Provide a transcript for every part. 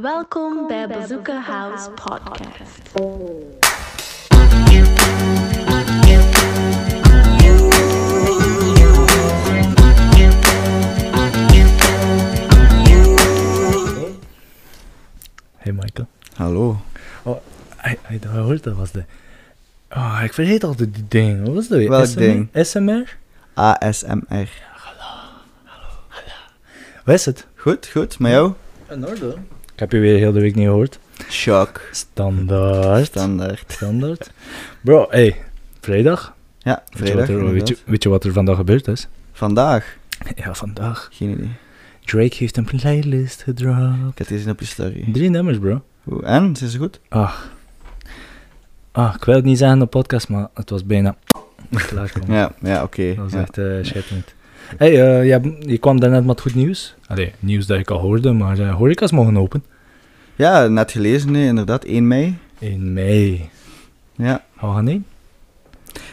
Welkom bij Bazooka House Podcast. Hey Michael. Hallo. Oh, hij, hij, hij hoort dat was de. Oh, ik vergeet altijd die ding. Wat was dat? weer? Welk SMR? ding? SMR? ASMR. Wat is het? Goed, goed. Met jou? Een orde. Ik heb je weer heel de week niet gehoord. Shock. Standaard. Standaard. Standaard. Bro, hey, vrijdag. Ja, Weet je, wat vrijdag. er, weet, je, inderdaad. weet je wat er vandaag gebeurd is? Vandaag. Ja, vandaag. Geen idee. Drake heeft een playlist gedropt. Ik had deze op je story. Drie nummers, bro. Hoe- En? Zijn ze goed? Ach. Ah, ik wil het niet zeggen op podcast, maar het was bijna. Klaarkomen. Ja, ja, oké. Dat is Ja. echt eh schitterend. Hey, eh, je, hebt- je kwam daarnet met goed nieuws. Allee, nieuws dat ik al hoorde, maar eh, horeca's mogen open. Ja, net gelezen, nee, inderdaad. 1 mei. In mei. Ja. Gaan we gaan heen?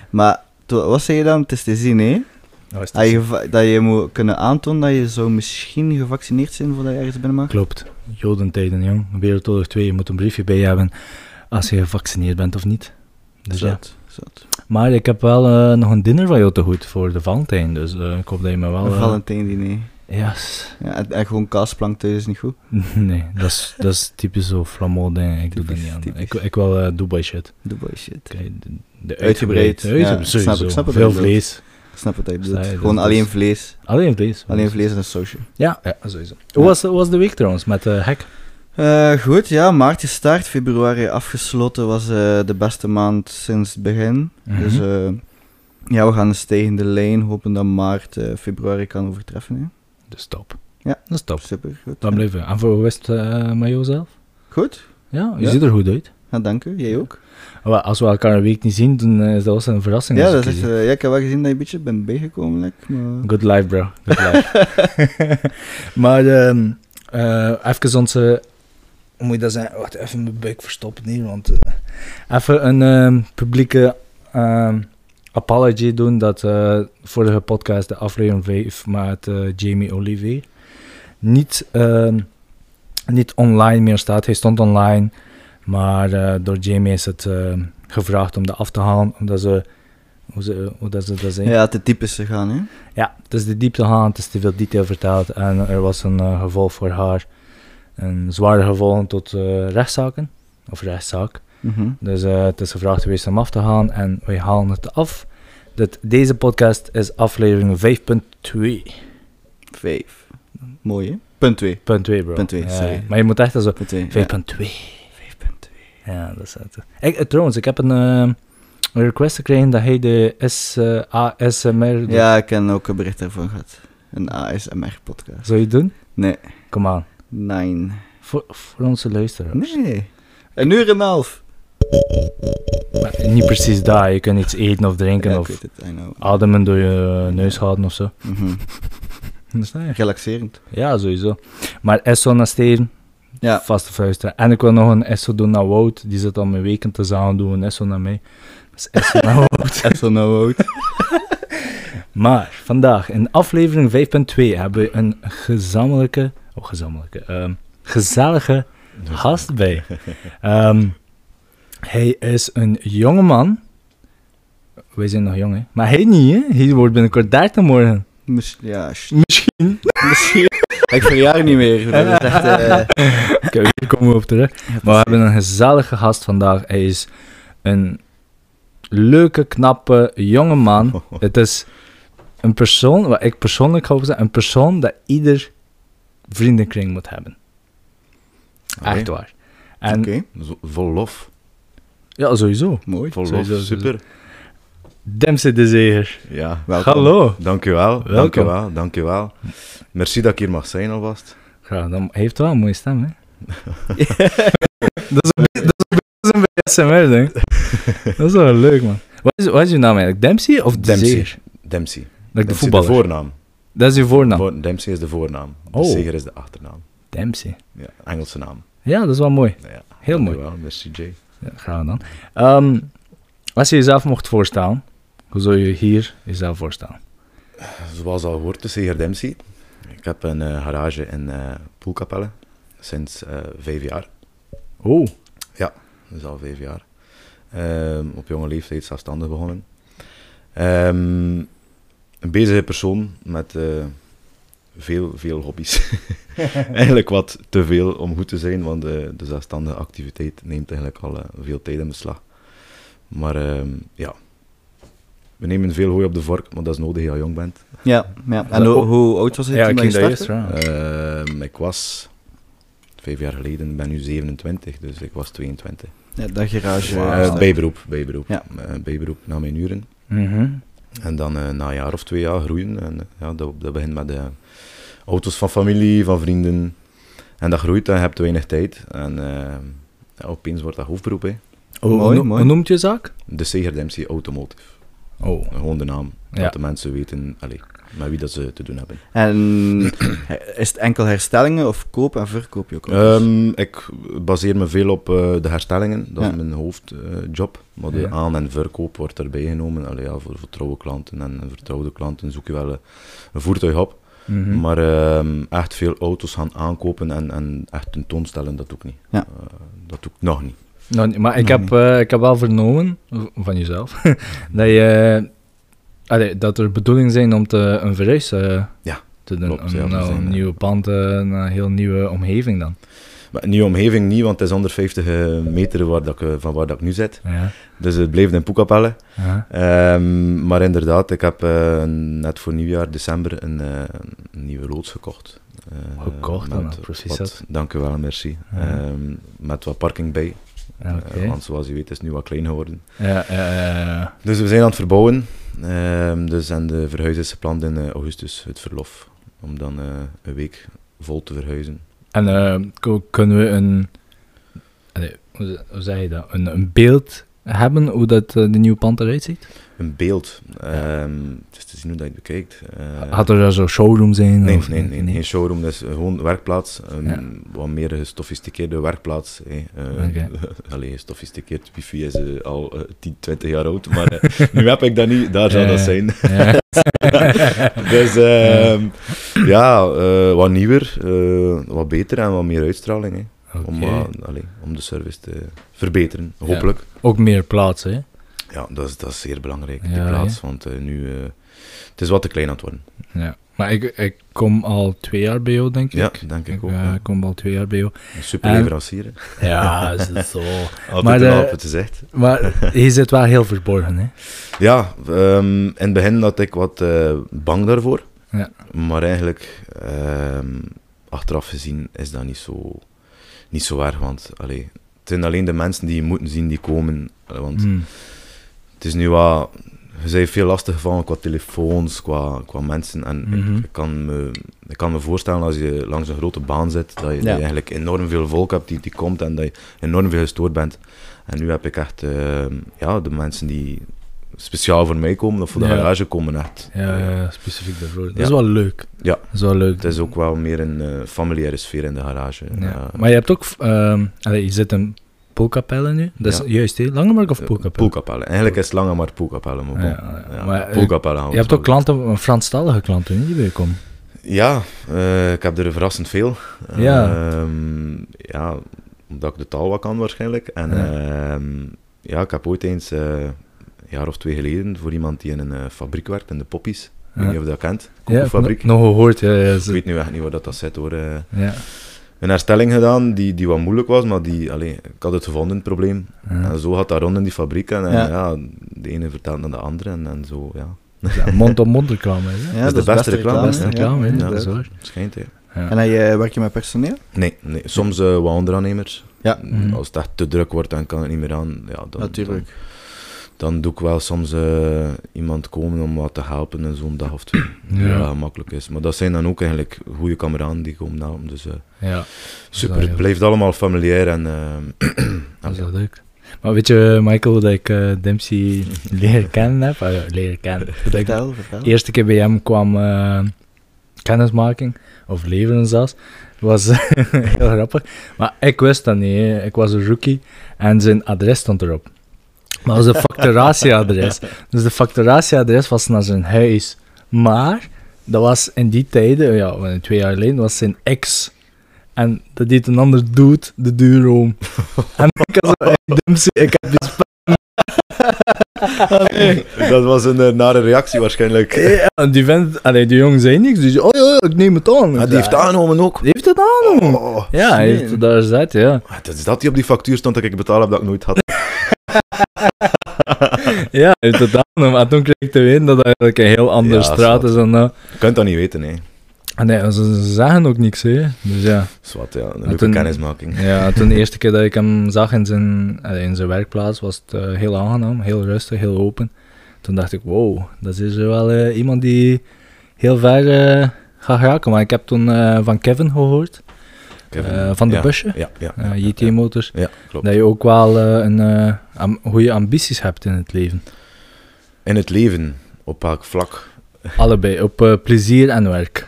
Maar to- wat zei je dan? Het is te zien, hè? Nou, is het Dat Ah, je, geva- dat je moet kunnen aantonen dat je zou misschien gevaccineerd zijn voordat je ergens binnen mag. Klopt. Jodentijden, jong. Wereldoorlog 2, je moet een briefje bij je hebben als je gevaccineerd bent of niet. Dus ja. Zot, zot. Maar ik heb wel eh, nog een dinner van jou te goed voor de Valentijn, dus eh, ik hoop dat je me wel... Een eh, Valentijn-diner. yes. Ja, en, en gewoon kaasplank thuis is niet goed. nee, dat is, dat is typisch zo flamand ding. Ik doe dat Typisch, niet aan. Ik, typisch. ik wil eh, Dubai shit. Dubai shit. Oké, de, de Uitgebreid, uitgebreid. ja, uitgebreid, snap ik, sowieso. snap ik Veel inderdaad. vlees. Snap wat hij Sta bedoelt. je, dus- Gewoon dat alleen is- vlees. Alleen vlees. Alleen vlees en een sausje. Ja, ja sowieso. Hoe was, hoe was de week trouwens met eh Hek? Eh, goed, ja, maart gestart, februari afgesloten was eh, de beste maand sinds het begin. Mhm. Dus eh, ja, we gaan een stijgende lijn, hopen dat maart eh, februari kan overtreffen. Hè. Dus top. Ja. Dat is top. Super, goed. Dan blijven we. En voor hoe is het eh, met jouzelf? Goed, Ja, je Ja. ziet er goed uit. ja, dank u. Jij ook? Wel, als we elkaar een week niet zien, dan eh, is dat wel een verrassing. Ja, als dat ik is echt, je eh, ja, ik heb wel gezien dat je een beetje bent bijgekomen. Like, maar... zie. Good life, bro. Good life. Eh. maar ehm, eh, even onze... Hoe moet je dat zeggen? Wacht, even mijn buik verstoppen hier, want... eh, even een ehm, publieke ehm, apology doen dat eh, vorige podcast, de aflevering 5 met eh, Jamie Olivier, niet, ehm, niet online meer staat. Hij stond online, maar eh, door Jamie is het ehm, gevraagd om dat af te halen, omdat ze... Hoe, ze, hoe dat ze dat zeggen? Ja, te typische gaan, hè? Ja, het is de diepte gaan, het is te veel detail verteld en er was een eh, gevolg voor haar. Een zware gevolg tot eh, rechtszaken, of rechtszaak. Mhm. Dus eh, het is gevraagd geweest om af te halen en wij halen het af. Dit, deze podcast is aflevering 5.2. Vijf. Mooi, hè? Punt 2. Punt 2, bro. Punt twee, Ja, sorry. maar je moet echt zo... 5.2. Punt 2. Ja, dat is het. Ik, eh, trouwens, ik heb een eh, een request gekregen dat hij de S, eh, ASMR... Ja, ik heb ook een bericht daarvan gehad. Een ASMR-podcast. Zou je doen? Nee, Kom aan. nine. Voor, voor onze luisteraars. Nee. Een uur en een half. Maar Niet precies daar, je kunt iets eten of drinken Ja, ik of Ah. weet het, I know. ademen door je neus houden of zo. Mhm. Snap je? Relaxerend. Ja, sowieso. Maar Esso naar Steven, Ja. vaste fluisteren. En ik wil nog een Esso doen naar Wout, die zit al mijn weken te zagen, doen we een Esso naar mij. Dus Esso naar Wout. Esso nou out. Maar vandaag, in aflevering 5.2, hebben we een gezamenlijke, oh gezamenlijke, ehm, gezellige gast bij. Ehm, hij is een jonge man. Wij zijn nog jong, hè? Maar hij niet, hè? Hij wordt binnenkort 13 morgen. Mis- ja, sh- Misschien. misschien. ik verjaar niet meer. Dat is echt, eh, Oké, hier komen we op terug. Maar we hebben een gezellige gast vandaag. Hij is een leuke, knappe, jonge man. Het is een persoon, wat ik persoonlijk hoop zeggen, een persoon dat ieder vriendenkring moet hebben. Echt waar. En Oké, Zo- vol lof. ja, sowieso. mooi. Vol Sowieso, lof. sowieso. Super. Dempsey de Zeer. Ja. Welkom. Hallo. Dankjewel. Welkom. Dankjewel. Dankjewel. Merci dat ik hier mag zijn alvast. Graag, dan, hij heeft wel een mooie stem, hè? dat is een beetje- dat is een beetje SMR, denk ik. Dat is wel leuk, man. Wat is, wat is je naam eigenlijk? Dempsey of de Dempsey. Zeer? Dempsey. Dempsey Dat ik de voetballer. de voornaam. Dat is je voornaam. Voor- Dempsey is de voornaam. De Oh. Zeger is de achternaam. Dempsey. Ja, Engelse naam. Ja, dat is wel mooi. Ja, Heel mooi. dankjewel. Merci Jay. Ja, gaan we dan. Ehm, als je jezelf mocht voorstellen, hoe zou je hier jezelf voorstellen? Zoals al hoort, de Zeger Dempsey. Ik heb een eh, garage in eh Poelkapelle. sinds eh, vijf jaar. Oh, Dus al vijf jaar. Ehm, op jonge leeftijd zelfstandig begonnen. Ehm, een bezige persoon met eh, veel, veel hobby's. eigenlijk wat te veel om goed te zijn, want eh, de, de zelfstandige activiteit neemt eigenlijk al eh, veel tijd in beslag. Maar ehm, ja, we nemen veel hooi op de vork, maar dat is nodig als je jong bent. Ja, ja. En Eh, hoe, oh. hoe oud was hij ja, toen ik dat je ging dat startte? eerst vragen. Ehm, ik was vijf jaar geleden, ik ben nu 27, dus ik was 22. Ja, dat garage. Wauw. Eh, eh, bijberoep, bijberoep. Ja. Eh, bijberoep na mijn uren. Mhm. En dan eh, na een jaar of twee jaar groeien. En, eh, ja, dat, dat begint met eh, auto's van familie, van vrienden. En dat groeit en je hebt weinig tijd. En eh, ja, opeens wordt dat hoofdberoep. Hè. Oh, Mooi, hoe, no- mooi. hoe noemt je zaak? De Seger Dempsey Automotive. Oh, Gewoon de naam. Ja. Dat de mensen weten allee, met wie dat ze te doen hebben. En is het enkel herstellingen of koop en verkoop je ook? auto's? Ehm, ik baseer me veel op eh, de herstellingen. Dat Ja. is mijn hoofdjob. Eh, maar de Ja. aan- en verkoop wordt erbij genomen. Allee, ja, voor vertrouwde klanten en vertrouwde klanten zoek je wel eh, een voertuig op. mhm. Maar ehm, echt veel auto's gaan aankopen en, en echt tentoonstellen, dat doe ik niet. Ja. Eh, dat doe ik nog niet. Nou, nee, maar ik Nog heb, eh, ik heb wel vernomen v- van jezelf dat, je, allee, dat er bedoeling zijn om te, een verhuis eh, Ja, te doen. klopt, Een- ja, we nou, zijn, een eh, nieuwe pand, eh, een heel nieuwe omgeving dan. Maar in die omgeving niet, want het is 150 meter waar dat ik, eh, van waar dat ik nu zit. Ja. Dus het blijft in Poekapelle. Ja. Ehm, maar inderdaad, ik heb eh, net voor nieuwjaar, december, een, eh, een nieuwe loods gekocht. Eh, Gekocht dan, met hè, precies wat- dat. Dank u wel, merci. Ja. Ehm, met wat parking bij. Ja, oké. Eh, want zoals je weet is het nu wat klein geworden. Ja, eh, ja, ja, ja. Dus we zijn aan het verbouwen. Ehm, dus en de verhuis is gepland in eh, augustus, het verlof. Om dan eh, een week vol te verhuizen. En eh, k- kunnen we een, allee, hoe, ze- hoe zeg je dat, een, een beeld hebben hoe dat eh, de nieuwe pand eruit ziet? Een beeld. Ehm, het is te zien hoe dat je het bekijkt. Eh, Had er zo'n showroom zijn? nee, of- nee, nee, geen showroom. Dat is eh, gewoon werkplaats. Een wat meer gestofisticeerde werkplaats. hè. Eh, Oké. allee, gestofisticeerd wifi is eh, al eh, 10, 20 jaar oud. Maar eh, nu heb ik dat niet. Daar zou dat Eh. zijn. Ja. dus ehm, ja, eh, wat nieuwer, eh, wat beter en wat meer uitstraling. Hè. Om, Oké. eh, allee, om de service te verbeteren, hopelijk. Ook meer plaats, hè? Ja, dat, is, dat is zeer belangrijk, die Ja, plaats. Want eh, nu, eh, het is wat te klein aan het worden. Ja, maar ik, ik kom al twee jaar bij jou, denk Ja, ik. denk ik ook. ja, ja. ik kom al twee jaar bij jou. Een super leverancier. hè. Ja, is het zo. Altijd maar maar de- het is echt. Maar je zit wel heel verborgen, hè? Ja, ehm, in het begin had ik wat eh, bang daarvoor. Ja. Maar eigenlijk, ehm, achteraf gezien, is dat niet zo, niet zo erg. Want allee, het zijn alleen de mensen die je moet zien die komen. Allee, Want Hmm. het is nu wat... Je bent veel lastig van qua telefoons, qua, qua mensen. En ik- Mhm. ik, kan me, ik kan me voorstellen als je langs een grote baan zit, dat je, dat je eigenlijk enorm veel volk hebt die, die komt en dat je enorm veel gestoord bent. En nu heb ik echt eh, ja, de mensen die speciaal voor mij komen of voor de Ja. garage komen echt. Ja, Eh, ja, specifiek daarvoor. Dat Ja. is wel leuk. Ja. Dat is wel leuk. Het is ook wel meer een eh, familiaire sfeer in de garage. Ja. Eh, Maar je hebt ook... ehm, allee, je zit in Poelkapelle nu. Dat is Ja. juist, hè? Langemark of eh, Poelkapelle? Poelkapelle. Eigenlijk is het langer maar Poelkapelle. Maar Ja, bon. ja. Ja, Maar, eh, Poelkapelle gaan we Je hebt het ook klanten, Franstalige klanten, hè, die bij je komen. Ja, eh, ik heb er verrassend veel. Ja. Ehm, ja, omdat ik de taal wat kan waarschijnlijk. En Ja. ja, ja ik heb ooit eens, eh, een jaar of twee geleden, voor iemand die in een eh, fabriek werkt, in de Poppies. Ik weet Ja. niet of je dat kent. Ja, ik heb Koekenfabriek. nog gehoord. Ja, ja, ze- Ik weet nu echt niet waar dat, dat zit hoor. eh. ja. een herstelling gedaan die, die wat moeilijk was, maar die, allee, ik had het gevonden, het probleem. Ja. En zo gaat dat rond in die fabriek. En, en Ja. ja. de ene vertelt aan de andere en, en zo, ja. Ja, Mond-op-mond reclame, hè? Ja, dat is de beste reclame, Dat is de Ja, reclame, hè? ja. Dat is waar. Schijnt, hè. Ja. En hij, eh, werk je met personeel? Nee, nee, soms eh, wat onderaannemers. Ja. Mhm. Als het echt te druk wordt, dan kan het niet meer aan. Ja, dan, Natuurlijk. Dan, dan doe ik wel soms eh, iemand komen om wat te helpen en zo'n dag of twee. Ja. Ja. makkelijk is. Maar dat zijn dan ook eigenlijk goede kameraden die komen helpen. Dus eh, Ja. super, wel het heel- blijft allemaal familiair en... eh, Dat is wel leuk. Maar weet je, Michael, dat ik eh, Dempsey leren kennen heb? Ah, ja, leren kennen. Dat ik de Vertel, vertel. eerste keer bij hem kwam eh, kennismaking, of leveren zelfs, was eh, heel grappig. Maar ik wist dat niet. hè. Ik was een rookie en zijn adres stond erop. Maar het was een facturatieadres. Dus de facturatieadres was naar zijn huis. Maar dat was in die tijden, ja, twee jaar geleden, was zijn ex. En dat deed een ander doet de deur om. en ik had zo, hey, Dempsey, ik heb die spel. Allee. Dat was een eh, nare reactie waarschijnlijk. Ja, en die vent, allee, die jongen zei niks, dus die zei, oh ja, ik neem het aan. Ah, die heeft aangenomen ook. Die heeft het aangenomen. Oh, Ja, hij heeft Nee. het daar gezet, ja. het is dat die op die factuur stond dat ik betaald heb dat ik nooit had. Ja, hij heeft het aangenomen. En toen kreeg ik te weten dat dat eigenlijk een heel andere Ja, straat is dan dat. Je kunt dat niet weten, hè. En nee, ze ze zeggen ook niks, hè. Dus ja. Zwat, ja. Een Maar leuke toen- kennismaking. Ja, toen de eerste keer dat ik hem zag in zijn, eh, in zijn werkplaats was het eh, heel aangenaam, heel rustig, heel open. Toen dacht ik, wow, dat is eh, wel eh, iemand die heel ver eh, gaat raken. Maar ik heb toen eh, van Kevin gehoord, Kevin. eh, van de ja. busje, Ja, ja. eh, JT Motors, Ja, klopt. dat je ook wel eh, een, eh, am- goede ambities hebt in het leven. In het leven, op welk vlak? Allebei, op eh, plezier en werk.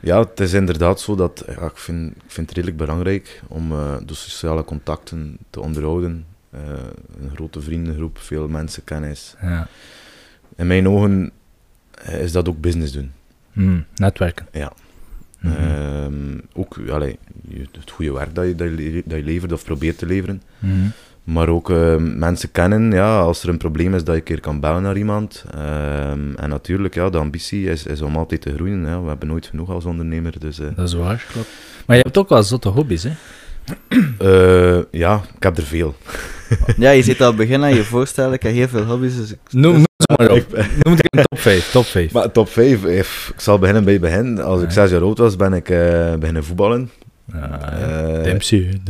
Ja, het is inderdaad zo dat ja, ik, vind, ik vind het redelijk belangrijk om eh, de sociale contacten te onderhouden. Eh, een grote vriendengroep, veel mensenkennis. Ja. In mijn ogen eh, is dat ook business doen. Mm, netwerken. Ja. Mhm. Ehm, ook allee, je- het goede werk dat je, dat, je, le- dat je levert of probeert te leveren. Mhm. Maar ook ehm, mensen kennen, ja, als er een probleem is, dat je een keer kan bellen naar iemand. Ehm, en natuurlijk, ja, de ambitie is, is om altijd te groeien. Hè. We hebben nooit genoeg als ondernemer. Dus, eh, Dat is waar, klopt. Maar je hebt ook wel zotte hobby's, hè? eh, ja, ik heb er veel. Ja, je zit al het begin aan je voorstellen. Ik heb heel veel hobby's. Dus ik- Noem, noem ze maar op. Noem het een top 5, top 5. Maar top 5, ik zal beginnen bij het begin. Als ik Ja. 6 jaar oud was, ben ik eh, beginnen voetballen. Eh, Dempsey,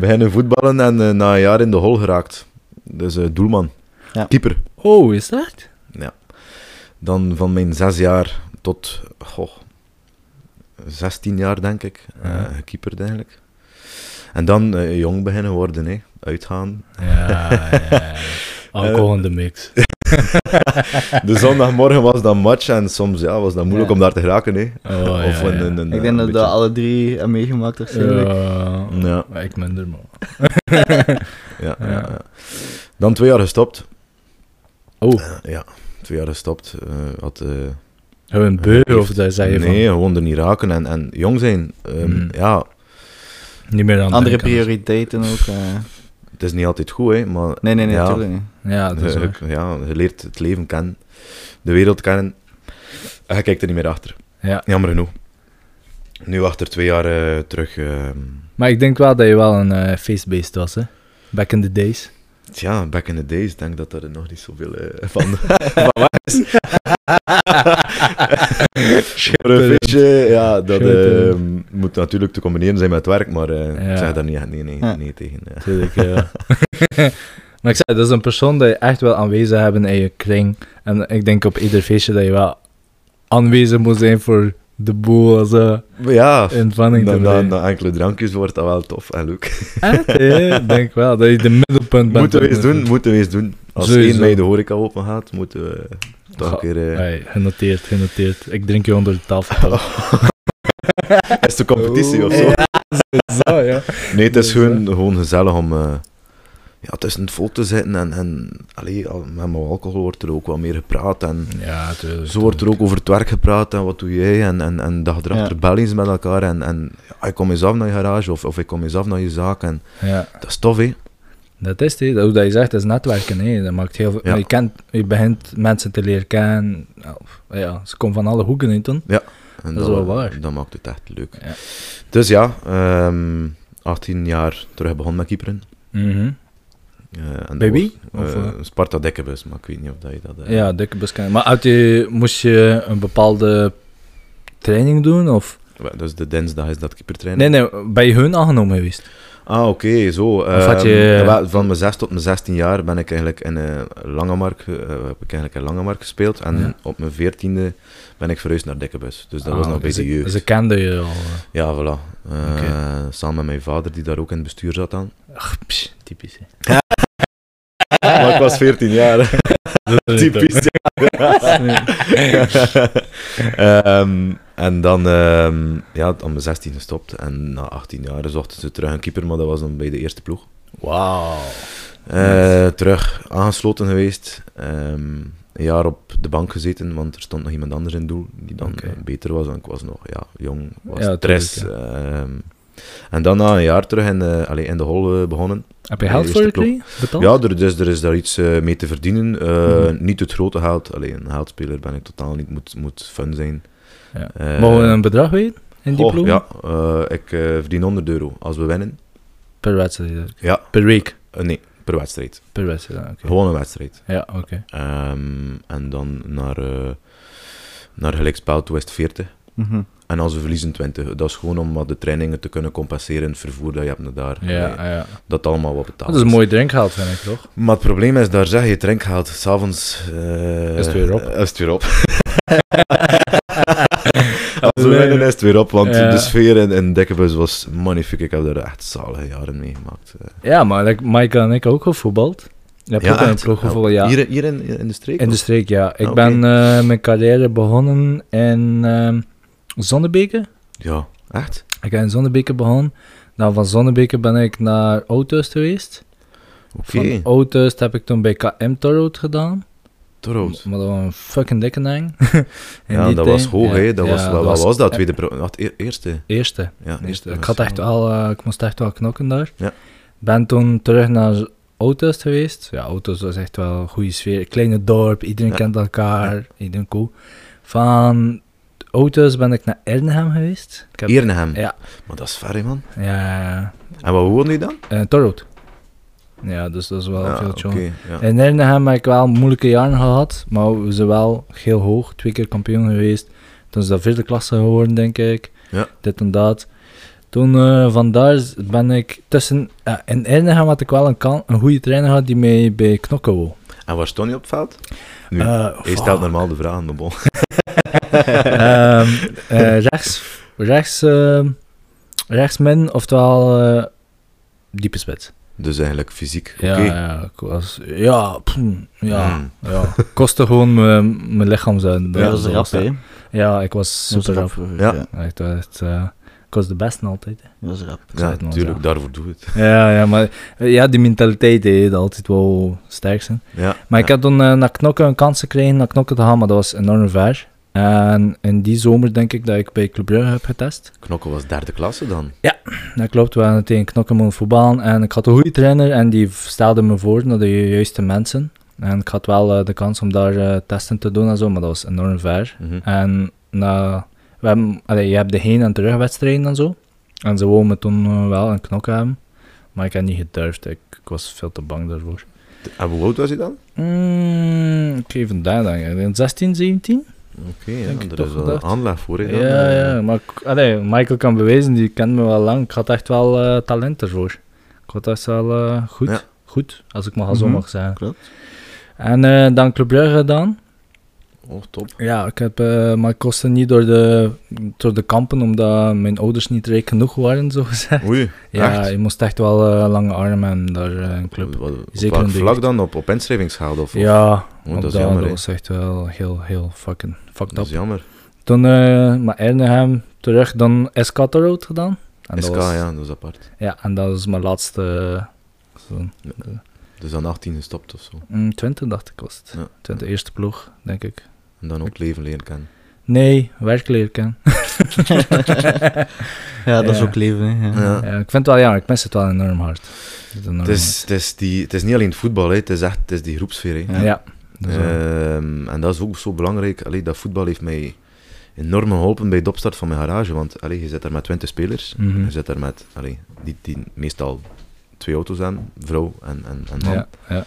beginnen voetballen en eh, na een jaar in de hol geraakt. Dus eh, doelman, Ja. keeper. Oh, is dat? Dan van mijn zes jaar tot goh, 16 jaar, denk ik. eh Ja. gekeeperd eigenlijk. En dan eh, jong beginnen worden, hè. uitgaan. Ja, ja. Eh, Alcohol in de mix. Oh, De zondagmorgen was dat match en soms ja, was dat moeilijk Ja. om daar te geraken. Hè. Oh, of ja, een, ja. een, een- ik een denk dat we beetje- dat alle drie hebben meegemaakt waarschijnlijk. Ja. Ja. Ik minder, man. Ja, ja. Ja. ja. Dan twee jaar gestopt. Oh, Eh, ja, twee jaar gestopt. eh, had, eh, hebben een beu of daar zei je nee, gewoon er niet raken en, en jong zijn. Ehm, Mm. Ja, van. Niet meer aan Andere denken. prioriteiten ook. eh. het is niet altijd goed, hè, maar Nee, nee, nee, Ja. natuurlijk niet. Ja, dat is je, waar. je- ja, je leert het leven kennen, de wereld kennen. En je kijkt er niet meer achter. Ja. Jammer genoeg. Nu achter twee jaar eh, terug. ehm, Maar ik denk wel dat je wel een eh face-based was, hè? Back in the days. tja, back in the days, ik denk dat er nog niet zoveel eh, van, van waar is. Voor een feestje, ja, dat Schitterend. ehm, moet natuurlijk te combineren zijn met werk, maar eh, Ja. ik zeg daar niet, nee, nee, Ja. nee tegen. eh. ja. Tuurlijk, ja. eh, maar ik zei, dat is een persoon dat je echt wel aanwezig hebben in je kring. En ik denk op ieder feestje dat je wel aanwezig moet zijn voor de boel als eh Maar Ja, in spanning te na, na, blijven. na enkele drankjes wordt dat wel tof en leuk. Echt, hè? Ik denk wel dat je de middelpunt bent. moeten we van eens het- doen, moeten we eens doen. Als Sowieso. één bij de horeca open gaat, moeten we toch een Ga- keer... eh, Hey, genoteerd, genoteerd. Ik drink je onder de tafel. is het de competitie of zo? Ja, zo, ja. Nee, het is Dus, gewoon, gewoon gezellig om eh ja, tussen het volk te zitten. En, en allee, al- met mijn alcohol wordt er ook wel meer gepraat. En Ja, tuurlijk. zo wordt er ook over het werk gepraat en wat doe jij. En, en, en dat je erachter Ja. bellings met elkaar. En, en ja, ik kom eens af naar je garage of, of ik kom eens af naar je zaak. En Ja, dat is tof, hè? dat is het. hè. Dat- Hoe dat je zegt, dat is netwerken. Hè. Dat maakt heel veel... Ja. Je, kent, je begint mensen te leren kennen. Nou, Ja, ze komen van alle hoeken in, dan. En Dat is wel waar. Dat maakt het echt leuk. Ja. Dus ja, ehm, 18 jaar terug begonnen met Kieperen. Mhm. Eh, en Bij dat wie? was, Of, eh, eh? Sparta Dekkebus, maar ik weet niet of dat je dat... eh, Ja, dikke bescherming. Maar uit je, moest je een bepaalde training doen? Of? Dus de dinsdag is dat keepertraining. Nee, nee, bij hun aangenomen geweest. Ah, oké, zo. Of had Ehm, je- wel, van mijn 6 tot mijn 16 jaar ben ik eigenlijk in eh Langemark, eh, heb ik eigenlijk in Langemark gespeeld. En Ja. op mijn 14e ben ik verhuisd naar Dikkebus. Dus dat was Ah, nog bij ze- de jeugd. Ze kenden je al. eh. Ja, voilà. Eh, Samen met mijn vader, die daar ook in het bestuur zat dan. Ach, psh, typisch. hè. maar ik was 14 jaar. Typisch. Ehm, en dan, ehm, ja, om mijn 16 gestopt. En na 18 jaar zochten ze terug een keeper, maar dat was dan bij de eerste ploeg. Wauw. Eh, Terug aangesloten geweest. Ehm, een jaar op de bank gezeten, want er stond nog iemand anders in het doel die dan Oké. eh, beter was. En ik was nog ja, jong, was Ja, stress. ehm. en dan na een jaar terug in de, allee, in de hol eh, begonnen. Heb je Ja, geld eerste voor klok. gekregen? Betaald? Ja, er, dus er is daar iets eh, mee te verdienen. Eh, Oh. Mhm. Niet het grote geld. Alleen een geldspeler ben ik totaal niet. Moet, moet fun zijn. Ja. Eh, Mogen we een bedrag weten? In die goh, ploeg? Ja, eh, ik eh, verdien 100 euro als we winnen. Per wedstrijd? dus. Ja. Per week? Eh, nee, per wedstrijd. Per wedstrijd, ah, oké. Gewoon een wedstrijd. Ja, oké. Ehm, en dan naar, eh naar gelijkspel toe is het 40. Mhm. En als we verliezen 20. Dat is gewoon om wat de trainingen te kunnen compenseren. Het vervoer dat je hebt naar daar. Ja, Allee, ah, ja. Dat allemaal wat betaald Dat is een mooi drinkgeld, vind ik, toch? Maar het probleem is, daar zeg je drinkgeld. S'avonds... eh Is het weer op. eh, Is het weer op. Als we Nee. winnen is het weer op, want Ja. de sfeer in, in Dekkebus was magnifiek. Ik heb daar echt zalige jaren meegemaakt. Eh, Ja, maar like, Maaike en ik hebben ook gevoetbald. Je hebt ook in echt. een Nou, ploeg gevoetbald, ja. Hier, hier in, in de streek? In de of? streek, ja. Ik Oké. ben eh, mijn carrière begonnen in ehm Zonnebeke. Ja, echt? Ik ben in Zonnebeke begonnen. Dan van Zonnebeke ben ik naar Oudhuis geweest. Oké. Van Oudhuis heb ik toen bij KM Torrood gedaan. Torhout. Maar dat was een fucking dikke nang. In Ja, die dat tijd. was hoog, hè. Dat ja, was, wat was, dat? eh, Tweede... pro- wat, e- eerste? Eerste. Ja, eerste. Ik, had echt al, eh, ik moest echt wel knokken daar. Ja. Ben toen terug naar auto's geweest. Ja, auto's was echt wel een goede sfeer. Kleine dorp, iedereen Ja. kent elkaar, iedereen cool. Van auto's ben ik naar Ernehem geweest. Ik heb- Eernehem. Ja. Maar dat is ver, hè, man. Ja, ja, ja. En waar woonde je dan? Eh, Torhout. Ja, dus dat is wel Ja, veel Ah, oké, tjonge. ja. In Ernehem heb ik wel moeilijke jaren gehad, maar we zijn wel heel hoog. Twee keer kampioen geweest. Toen is dat vierde klasse geworden, denk ik. Ja. Dit en dat. Toen eh, vandaar ben ik tussen... ja, in Ernehem had ik wel een, kan, een goede trainer gehad die mij bij knokken wou. En waar stond je op het veld? Nu, Eh, je stelt normaal de vragen, maar bon. Ehm, eh, rechts... Rechts... ehm, rechtsmin, oftewel... eh, diepe spits. Dus eigenlijk fysiek, oké. Ja, ja, ik was, ja, pff, ja, Mm. ja. Kostte gewoon mijn mijn lichaam zijn. Ja, dat is rap, hè? Ja, ik was Dat is super rap rap. vroeger, Ja. ja. Echt, echt, eh, ik was de beste altijd. hè. Dat is rap. zei Ja, het nog, natuurlijk, ja. daarvoor doe je het. Ja, ja, maar eh, ja, die mentaliteit deed altijd wel sterk zijn. Ja, Maar ik heb dan eh, naar Knokken een kans gekregen naar Knokken te gaan, maar dat was enorm ver. En in die zomer denk ik dat ik bij Club Brugge heb getest. Knokken was derde klasse dan. Dat klopt, we hadden tegen Knokken moeten voetballen. En ik had een goede trainer en die stelde me voor naar de ju- juiste mensen. En ik had wel eh, de kans om daar eh, testen te doen en zo, maar dat was enorm ver. Mhm. En na, we hebben, allee, je hebt de heen- en terugwedstrijden en zo. En ze wouden me toen eh, wel een knok hebben. Maar ik heb niet gedurfd. Ik, ik was veel te bang daarvoor. En hoe oud was je dan? Mm, ik geef een daar denk ik. 16, 17? Oké, ja, Denk ik er toch is wel een gedacht. aanleg voor je dan. ja, eh. ja. Maar ik- allee, Michael kan bewezen, die kent me wel lang. Ik had echt wel eh, talent ervoor. Ik had echt wel eh, goed. Ja. Goed, als ik maar zo Mhm, mag zeggen. klopt. En eh, dan Club Brugge gedaan. Oh, top. Ja, ik heb eh, mijn kosten niet door de, door de kampen, omdat mijn ouders niet rijk genoeg waren, zo gezegd. Oei, Ja, echt? je moest echt wel eh, lange armen hebben daar eh, een club. Wat- Op Zeker welk een vlak deugd. dan? Op, op inschrijvingsgehaald of? of- Ja, Oh, want dat dat, is jammer, hè. was echt wel heel, heel fucking fucked Dat up. is jammer. Toen eh maar Ernehem terug, dan SK Road gedaan. En SK, dat was, ja, dat is apart. Ja, en dat was mijn laatste, eh, zo'n, Dus dan 18 gestopt of zo. mm, 20 dacht ik was het. Ja. 20 eerste ploeg, denk ik. En dan ook het leven leren kennen. Nee, werkleer ken. Ja, dat is Ja. ook leven, hè? Ja. Ja. Ja, ik vind het wel jammer, ik mis het wel enorm hard. Het is enorm Het is, het, is die, het is niet alleen het voetbal, hè. het is echt het is die groepsfeer. Hè. Ja. Ja. dat is wel- Ehm, en dat is ook zo belangrijk. Allee, dat voetbal heeft mij enorm geholpen bij de opstart van mijn garage. Want allee, je zit daar met 20 spelers. Mhm. Je zit daar met, allee, die, die meestal twee auto's aan, vrouw en, en, en man. ja, ja.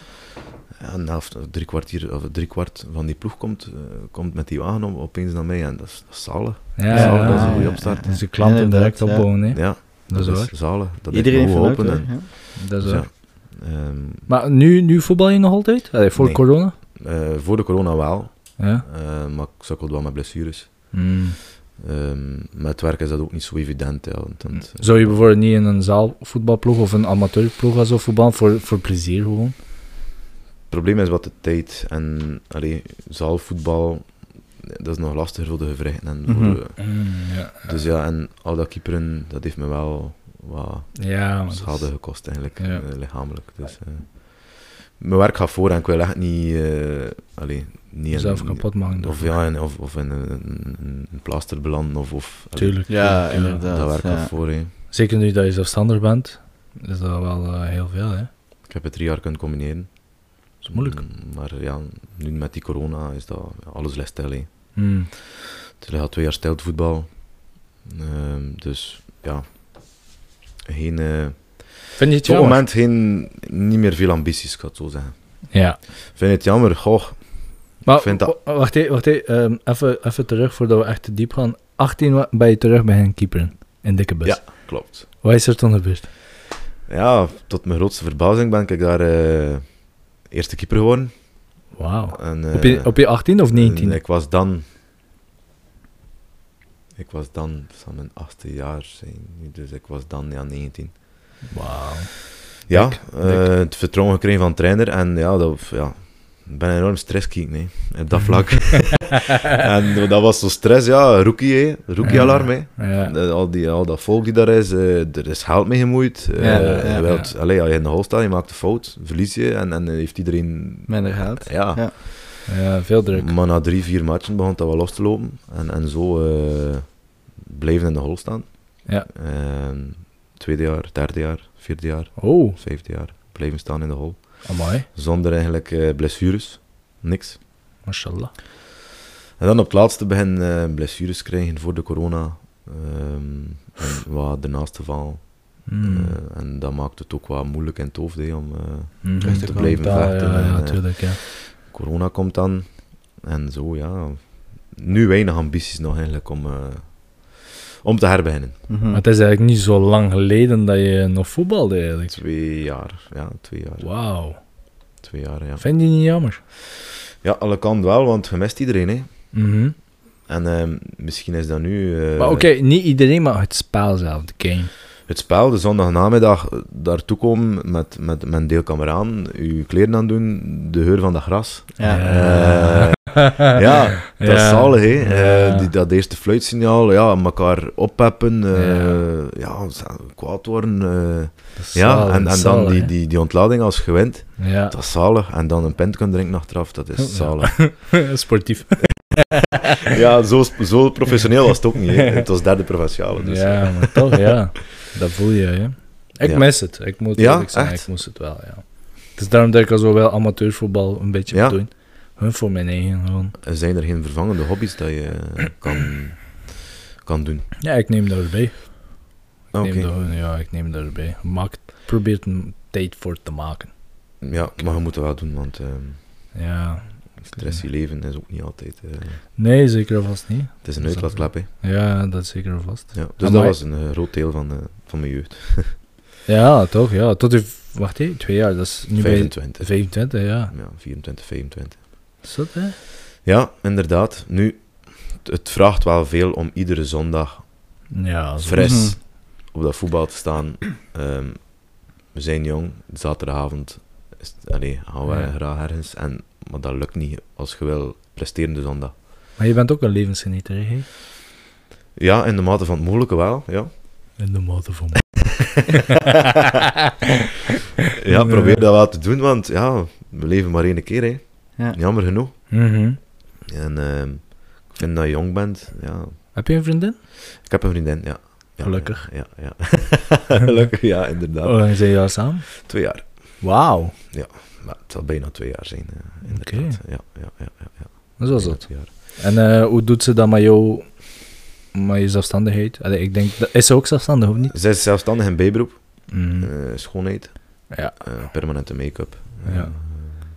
Ja, en na drie, kwartier, of drie kwart van die ploeg komt, eh, komt met die wagen om, opeens naar mij. En dat is, dat is zalig. Ja, dat, is, ja, zalig, dat is een ja, goede ja. opstart. Dus je klanten Inderdaad, direct ja. opbouwen, hè. Ja, Dat is waar. zalig. Dat Iedereen heeft heeft me vanuit, geholpen. hè? en- Dat is dus ja. waar. Ehm, Maar nu, nu voetbal je nog altijd? Allee, voor Nee. corona? eh, voor de corona wel, Ja. eh, maar ik sukkelde wel met blessures. Mm. Ehm, met werk is dat ook niet zo evident. Ja, want, eh, want- Mm. Zou je bijvoorbeeld niet in een zaalvoetbalploeg of een amateurploeg als zo voetbal voor, voor plezier gewoon? Het probleem is wat de tijd en allee, zaalvoetbal, eh, dat is nog lastiger voor de gewrichten. En voor Mhm. de- Mm, ja. dus ja, en al dat keeperen, dat heeft me wel wat Ja, maar dat is- schade gekost eigenlijk, Ja. eh, lichamelijk. Dus, eh, Mijn werk gaat voor en ik wil echt niet... eh allee, niet in- Zelf kapot maken. Of ja, in, of, of in een, een- een plaster belanden of... of allee, Tuurlijk. Ja, tuurlijk, tuurlijk. inderdaad. Dat werk gaat ja. voor, hè. Zeker nu dat je zelfstandig bent, is dat wel eh, heel veel, hè? Ik heb het drie jaar kunnen combineren. Dat is moeilijk. Mm, Maar ja, nu met die corona is dat ja, alles ligt stil. hè. Mm. Het ligt al twee jaar stil het voetbal. Ehm, dus ja, geen, eh, Vind je op het het jammer? moment geen, niet meer veel ambities, ik ga het zo zeggen. Ja. Ik Vind het jammer, goh. Maar Ik vind dat- wa- wacht even, wacht even, ehm, even, even terug voordat we echt te diep gaan. 18 wa- ben je terug bij hen keeperen in dikke bus. Ja. Klopt. Wat is er toen gebeurd? Ja, tot mijn grootste verbazing ben ik daar eh, eerste keeper geworden. Wauw. En, eh, Op je, op je 18 of 19? en Ik was dan... Ik was dan, het zal mijn achtste jaar zijn, nu, dus ik was dan ja, 19. Wauw. Ja, Dik, eh, het vertrouwen gekregen van de trainer. En ja, dat, ja ik ben een enorm stresskiek, nee, op dat vlak. en dat was zo stress, ja, rookie, hè, rookie alarm, hè. Ja. Eh, Al, die, al dat volk die daar is, eh, er is geld mee gemoeid. Eh, Ja, ja, je ja. wilt, allee, als je in de hol staat, je maakt een fout, verlies je en, en heeft iedereen... Minder geld. Ja, Ja. ja, veel druk. maar na drie, vier matchen begon dat wel los te lopen. En, en zo eh bleven in de hol staan. Ja. Ehm, tweede jaar, derde jaar, vierde jaar, Oh, vijfde jaar, bleven staan in de hol. mooi. Zonder eigenlijk eh, blessures. Niks. Mashallah. En dan op het laatste begin eh, blessures krijgen voor de corona. ehm, en wat daarnaast te vallen. Mm. Eh, en dat maakt het ook wat moeilijk en tof hè, om... eh, Mm. terug te Ja, blijven vechten Ja, en, ja, eh, tuurlijk, ja. corona komt dan. En zo, ja. Nu weinig ambities nog eigenlijk om, eh, om te herbeginnen. Mhm. Maar het is eigenlijk niet zo lang geleden dat je nog voetbalde, eigenlijk. Twee jaar. Ja, twee jaar. Wauw. Twee jaar, ja. Vind je niet jammer? Ja, alle kanten wel, want je mist iedereen, hè. Mhm. En ehm, misschien is dat nu... eh, Maar oké, niet iedereen, maar het spel zelf, de game. Het spel, de zondagnamiddag eh, daartoe komen met, met mijn deelkameraden, uw kleren aan doen, de geur van dat gras. Ja. Eh, ja, dat is zalig, hè. Eh, die, dat eerste fluitsignaal, ja, elkaar oppeppen, eh, ja, kwaad worden. eh, ja, en, en dan die, die, die ontlading als je wint, Ja, dat is zalig. En dan een pint kunnen drinken achteraf, dat Ja. is zalig. sportief. Ja, zo, zo professioneel was het ook niet, hè. Het was derde provinciale, dus... eh, ja, maar toch, ja. Dat voel je, hè. Ik Ja. mis het. Ik moet Ja, eerlijk zijn, echt? ik moest het wel, ja. Het is daarom dat ik al zo wel amateurvoetbal een beetje Ja. moet doen. Hun voor mijn eigen, gewoon. Zijn er geen vervangende hobby's dat je kan, kan doen? Ja, ik neem dat erbij. Ik Oké. neem dat gewoon- ja, ik neem dat erbij. Maak, probeer er een tijd voor te maken. Ja, maar je moet het wel doen, want ehm Ja. stress je leven is ook niet altijd. eh, Nee, zeker of vast niet. het is een Dat is uitlaatklep, hè. Ja, dat is zeker of vast. Ja. Dus dat Amai. was een eh, groot deel van, eh, van mijn jeugd. Ja, toch, ja. Tot je, wacht even, twee jaar, dat is nu bij 25. 25, ja. Ja, 24, 25. Zot, hè? Ja, inderdaad. Nu, t- het vraagt wel veel om iedere zondag Ja, zo. fris Mhm. op dat voetbal te staan. Ehm, we zijn jong, zaterdagavond is het- allee, gaan we Ja. graag ergens. En, maar dat lukt niet als je wil presteren de zondag. Maar je bent ook een levensgenieter, hè? Ja, in de mate van het mogelijke wel, ja. In de mate van... Ja, probeer dat wel te doen, want ja, we leven maar één keer, hè. Ja. Jammer genoeg. Mhm. En ehm, ik vind dat je jong bent, ja. Heb je een vriendin? Ik heb een vriendin, ja. Ja, Gelukkig. Oh. Ja, ja. Gelukkig, ja, inderdaad. Hoe lang zijn jullie al samen? Twee jaar. Wauw. Maar het zal bijna twee jaar zijn, eh, inderdaad. Ja, ja, ja. ja, ja. Zo is Bijna dat. twee jaar. En eh, hoe doet ze dat met jou... Met je zelfstandigheid? Allee, ik denk... dat- Is ze ook zelfstandig, of niet? Zij is zelfstandig in bijberoep. Mhm. eh, schoonheid. Ja. eh, permanente make-up. eh, Ja.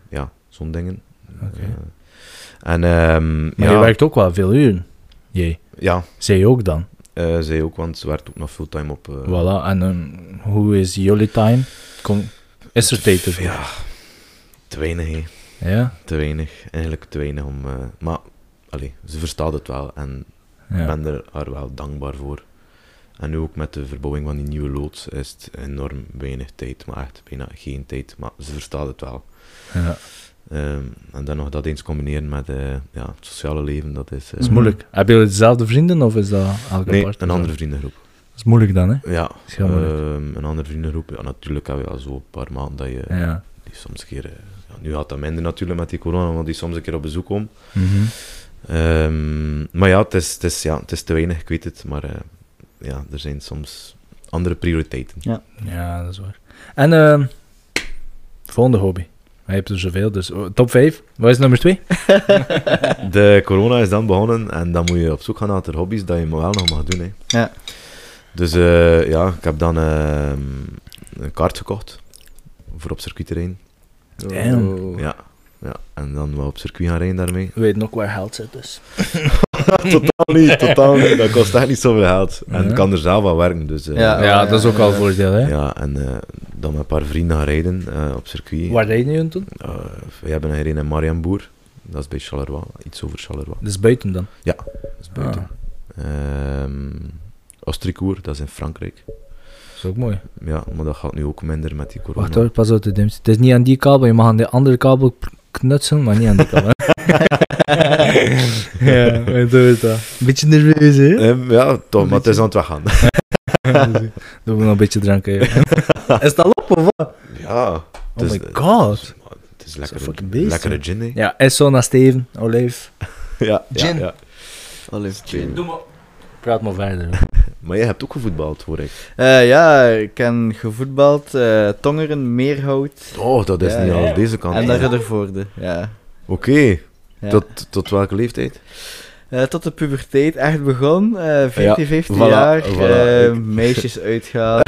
ja, zo'n dingen. Oké. Eh, en ehm, Maar ja, je werkt ook wel veel uren. Jee. ja Zij ook dan. eh, zij ook, want ze werkt ook nog fulltime op... eh, Voilà. En ehm, hoe is jullie time? Kom... Is er tijd ervoor? Ja, te weinig, hè. Ja? te weinig. Eigenlijk te weinig om. eh, maar allee, ze verstaat het wel en Ja. ik ben er haar wel dankbaar voor. En nu ook met de verbouwing van die nieuwe loods is het enorm weinig tijd, maar echt bijna geen tijd. Maar ze verstaat het wel. ja. Ehm, en dan nog dat eens combineren met eh, ja, het sociale leven, dat is. eh, Dat is moeilijk. Hebben jullie dezelfde vrienden of is dat elke Nee, apart? een Eh, andere vriendengroep. Dat is moeilijk dan, hè? Ja, is heel moeilijk. ehm, een andere vriendengroep. Ja, natuurlijk heb je al zo een paar maanden dat je Ja. die die soms een keer... eh, ja, nu had dat minder natuurlijk met die corona, want die soms een keer op bezoek om. Mhm. Ehm, maar ja het, is, het is, ja, het is te weinig, ik weet het. Maar eh, ja, er zijn soms andere prioriteiten. Ja, dat is waar. En ehm, volgende hobby. Hij hebt er zoveel, dus oh, top 5. Wat is nummer 2? De corona is dan begonnen en dan moet je op zoek gaan naar de hobby's dat je maar wel nog mag doen. Hè. Ja. Dus eh, ja, ik heb dan ehm, een kaart gekocht voor op circuitterrein. Damn. Ja. ja, en dan wel op circuit gaan rijden daarmee. weet nog waar geld zit, dus. totaal niet, totaal niet. Dat kost echt niet zoveel geld. En Ja. ik kan er zelf aan werken, dus... eh, Ja. ja. Ja, dat is ook al een eh, voordeel, hè? en eh, dan met een paar vrienden gaan rijden eh, op circuit. Waar rijden jullie toen? Eh, we hebben een gereden in Marienboer. Dat is bij Charleroi, iets over Charleroi. Dat is buiten dan. Dat is buiten. Ah, Ehm, Ostricourt, dat is in Frankrijk. dat is ook mooi. Ja, maar dat gaat nu ook minder met die corona. Wacht hoor, pas op de dimst. Het is niet aan die kabel, je mag aan de andere kabel p- knutsen, maar niet aan die kabel. ja, weet je wat dat. Beetje nerveus, hè? Ehm, ja, toch, maar het is aan het weggaan. Doe me nog een beetje drank, hè. Is dat op, of wat? ja. Oh is- my god. Het is Zo'n lekker, fucking beest, lekkere gin, hè. Ja, Esso naar Steven, Olijf. Ja, ja, Gin. ja. Allee. Praat maar verder. Maar jij hebt ook gevoetbald, hoor ik. Eh, ja, ik heb gevoetbald, eh, Tongeren, Meerhout Oh, dat is Ja, niet ja. al deze kant. en Oké, daar Riddervoorde. Ja. ja. tot, tot welke leeftijd? Eh, tot de puberteit echt begon, eh 14, 15 voilà, jaar, voilà, eh, ik- meisjes uitgaan.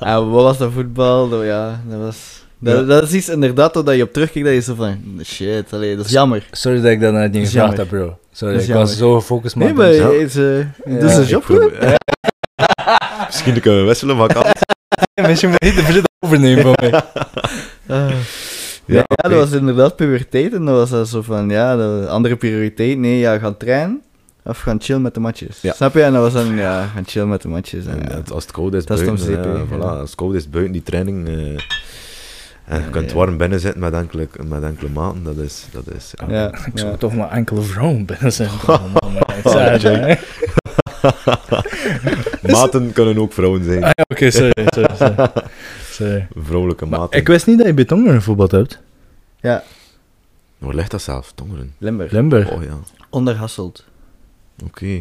en wat was dat voetbal? Dat, ja, dat was... Dat, Ja. dat is iets inderdaad dat je op terugkijkt dat je zo van, shit, allee, dat is jammer. Sorry dat ik dat net niet Dat is gevraagd heb, jammer. bro. Sorry, Dat is ik was jammer. zo gefocust, Nee, man. maar Ja. je is, eh, Ja. dat is een Ik job, hè? probeer- Misschien kunnen we wisselen, maar ik kan. Mensen moeten niet de verleden overnemen van mij. Ah. Nee, Ja, Ja, oké. dat was inderdaad puberteit en dat was dat zo van, ja, dat- andere prioriteit. Nee, ja, gaan trainen of gaan chillen met de matjes. Ja. Snap je? En dat was dan, ja, gaan chillen met de matjes. En, En ja. het- als het koud is, Dat is buiten, dan zeep, ja, hè. voilà, Ja. als het koud is buiten die training. eh, en je Ja, kunt ja. warm binnen zitten met enkele, met enkele maten, dat is... Dat is ja. Ja, Ik ja. zou toch maar enkele vrouwen binnen zijn. gekomen, maar ik zei het, hè. Maten kunnen ook vrouwen zijn, Ah, ja, Oké, sorry, sorry, sorry. Sorry. vrouwelijke Maar maten. ik wist niet dat je bij Tongeren voetbald hebt. Waar ligt dat zelf? Tongeren? Limburg. Limburg. Oh ja, oké. Onderhasselt.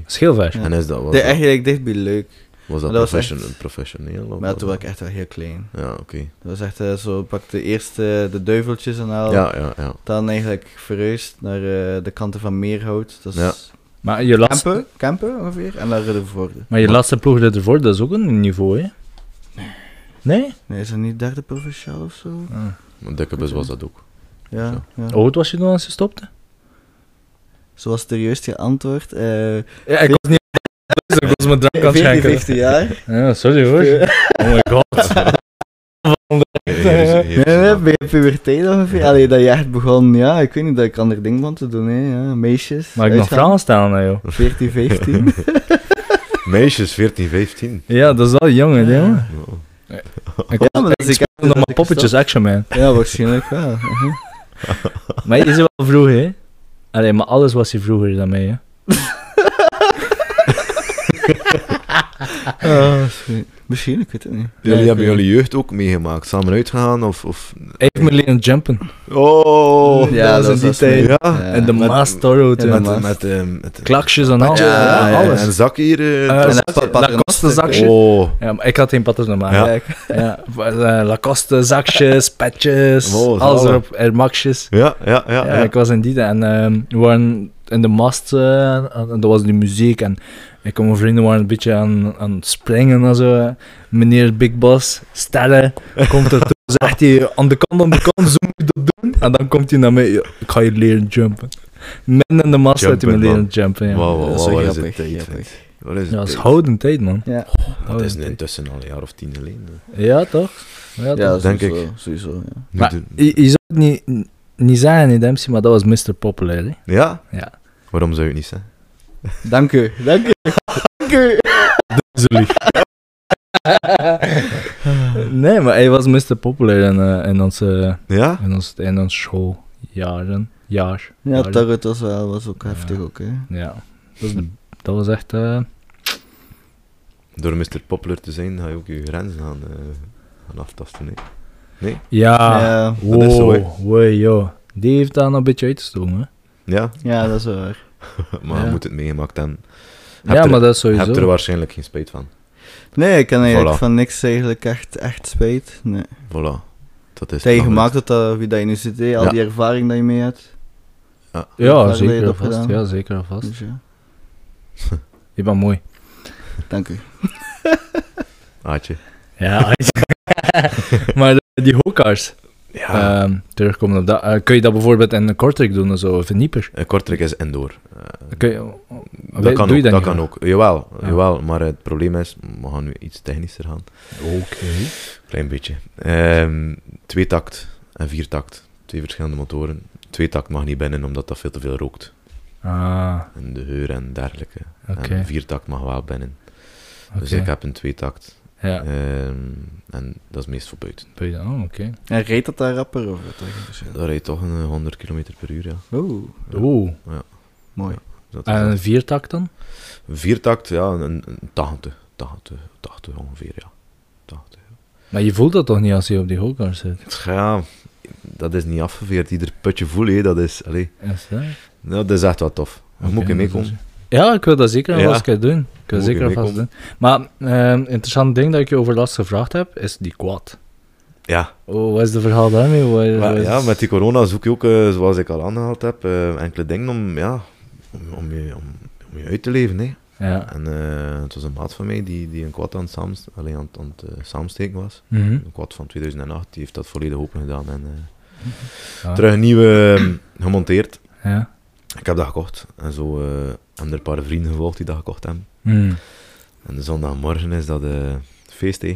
Scheelver. Ja. En is dat, was, De, dat, eigenlijk dicht bij leuk. was dat, dat was profession- echt- professioneel? of Maar wat? toen was ik echt wel heel klein. Ja, oké. Dat was echt eh, zo, pak de eerste eh, de duiveltjes en al. Ja, ja, ja. Dan eigenlijk verhuisd naar eh, de kanten van Meerhout. Dat is Ja. Maar je laatste, Kempen, Kempen ongeveer. En dan Riddervoorde. maar je laatste ploeg ervoor, dat is ook een niveau, hè? Nee? Ah. Nee, is dat niet derde provinciaal of zo? Een dikke bus was dat ook. Zo. Ja, ja. Hoe oud was je toen als je stopte? Zoals er juist geantwoord. eh Ja, ik was niet... Ik was mijn drank aan 14, 15 jaar. Ja, sorry hoor. Oh my god. Hier is- hier is- Nee, nee, bij de puberteit ongeveer. Allee, dat je echt begon, ja, ik weet niet, dat ik ander ding begon te doen, hè. Ja, meisjes. Mag ik nog uitgaan. vragen stellen aan jou? 14, 15. Meisjes, 14, 15. Ja, dat is wel jong, hè, jongen. Ja. Ik Ja, maar dat is ik echt was nog dat maar ik poppetjes, Action Man. gestopt- Ja, waarschijnlijk wel. Mhm. Maar je is wel vroeg, hè? Allee, maar alles was je vroeger dan mij, hè? Ah, misschien- misschien, ik weet het niet. Jullie Ja, hebben oké. jullie jeugd ook meegemaakt, samen uitgegaan of... of... Even me leren jumpen. Oh! Ja, dat was is die tijd. Ja, En de met- Maas Toro, En toen. met, Ja, met, maar- ehm, met- Klaksjes en alles. Ja, ja, alles. En zak hier. eh, Eh, tas- zak- dat- dat- Lacoste zakje. oh. Ja, maar ik had geen patten normaal. Ja. Ja. Ja. eh, Lacoste zakjes, petjes, Wow, alles zalig. erop, Air Maxjes. Ja, ja, ja. Ja, ja, ik was in die en ehm, we waren in de mast eh, en dat was de muziek en ik en mijn vrienden waren een beetje aan, aan het springen en zo. Meneer Big Boss, sterren, komt er toe, zegt hij aan de kant, aan de kant, zo moet je dat doen. En dan komt hij naar mij, "Ja, ik ga je leren jumpen. Midden in de mast had hij me Jumpen, leren man. jumpen, ja. Wauw, wauw, Dat is wauw, wel wat is het grappig, tijd, grappig. vind. Wat is Ja, dat het is tijd? houden tijd, man. Ja, Dat is Houden tijd. intussen al een jaar of tien geleden. Ja, toch? Ja, toch? ja denk sowieso, Sowieso, ja. Nu Maar doen- je, je zou het niet, niet zeggen in Dempsey, maar dat was Mr. Populair. Hè? Ja? Ja. Waarom zou je het niet zeggen? Dank u, dank u. dank u. Zo lief. nee, maar hij was Mr. Populair in, eh, in, onze, Ja? in, ons, in ons schooljaren. Jaar. Ja, jaren. Tarot was, wel, was ook heftig, ook, hè. Ja. Dat, is- dat was echt... eh, Door Mr. Poplar te zijn, ga je ook je grenzen gaan, eh, gaan aftasten. Hè. Nee? Ja. Ja, dat is zo, hè. Wow, wee, joh. Die heeft daar nog een beetje uitgestoken, hè? Ja, ja, dat is waar. maar je Ja. moet het meegemaakt hebben. Heb Ja, er- maar dat is Je hebt er sowieso. waarschijnlijk geen spijt van. Nee, ik heb eigenlijk Voilà. van niks eigenlijk echt, echt spijt. Nee. Voilà. Dat is Tegen gemaakt. gemaakt dat, dat wie dat je nu zit, hè, al Ja. die ervaring dat je mee hebt. Waar Ja, ben je zeker dat en vast. gedaan? Ja, zeker en vast. Dus ja, Je bent mooi. dank u. Aatje. Ja. maar eh, die hokkaars, Ja. ehm, terugkomen op dat. eh, kun je dat bijvoorbeeld in een kortrek doen of zo, of een dieper? Een Kortrijk is indoor. Eh, Kun je- oh, dat weet- kan doe ook. je Dat, dat niet kan meer? ook. Jawel, Ja. jawel, maar het probleem is, we gaan nu iets technischer gaan. Oké. Klein beetje. Ehm twee takt en vier takt. Twee verschillende motoren. Twee takt mag niet binnen omdat dat veel te veel rookt. Ah, En de geur en dergelijke. Oké. En vier takt mag wel binnen. Dus Oké. ik heb een twee takt. ja. Ehm, en dat is meest voor buiten. Doe je dat? Oh, oké. En reed dat daar rapper of wat? dat geen verschil? Dat rijdt toch een eh, 100 km per uur, ja. Oeh, Ja. Oeh. mooi. Dat is En wel- een viertak dan? Vier takt, ja, een, een 80, 80, 80 ongeveer, ja. 80. Maar je voelt dat toch niet als je op die hokkaars zit? Ja, dat is niet afgeveerd. Ieder putje voelen, hè, dat is, allee, Is dat? nou, dat is echt wel tof. Dan Oké, dus- moet ik dat meekomen. Ja, ik wil dat zeker Ja. en vast een keer doen. Ik wil Moet zeker en je vast doen. meekomen. Maar ehm interessant ding dat ik je over last gevraagd heb, is die quad. Ja. Oh, wat is de verhaal daarmee? Wat is- Maar, wat is- ja, met die corona zoek je ook, eh, zoals ik al aangehaald heb, eh, enkele dingen om, ja, om, om, je, om, om je uit te leven. Hè. Ja. En eh, het was een maat van mij die, die een quad aan het, saamst- allee, aan het, aan het, eh, samensteken was. Mhm. Een quad van 2008, die heeft dat volledig open gedaan en eh, Ja. terug een nieuwe eh, gemonteerd. Ja. Ik heb dat gekocht. En zo eh, hebben er een paar vrienden gevolgd die dat gekocht hebben. Mm. En de zondagmorgen is dat eh feest, hè.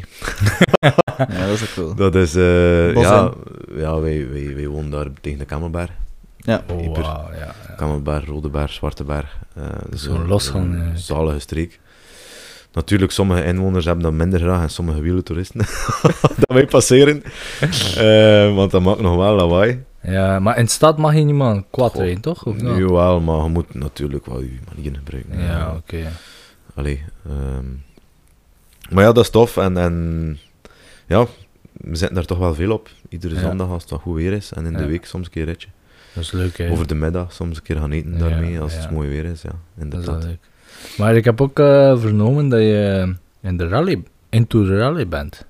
Ja, dat is ook cool. Dat is... eh, Bos ja, ja wij, wij, wij wonen daar tegen de Kamerberg. Ja. Oh, Hyper. wauw, ja, ja. Kamerberg, Rodeberg, Zwarteberg. eh dus Zo'n eh, een- losgang, een eigenlijk. Zalige streek. Natuurlijk, sommige inwoners hebben dat minder graag en sommige wielertoeristen dat wij passeren. Eh, want dat maakt nog wel lawaai. Ja, maar in de stad mag je niet maar een quad Goh. rijden, toch? Of nou? Nu wel, maar je moet natuurlijk wel je manieren gebruiken. Ja, oké. Allee, ehm. Maar ja, dat is tof. En, en ja, we zitten daar toch wel veel op. Iedere Ja. zondag als het wat goed weer is. En in de Ja. week soms een keer ritje. Dat is leuk, hè? Over de middag soms een keer gaan eten Ja, daarmee als ja. het mooi weer is. Ja, dat is inderdaad. wel leuk. Maar ik heb ook eh, vernomen dat je in de rally, into de rally bent.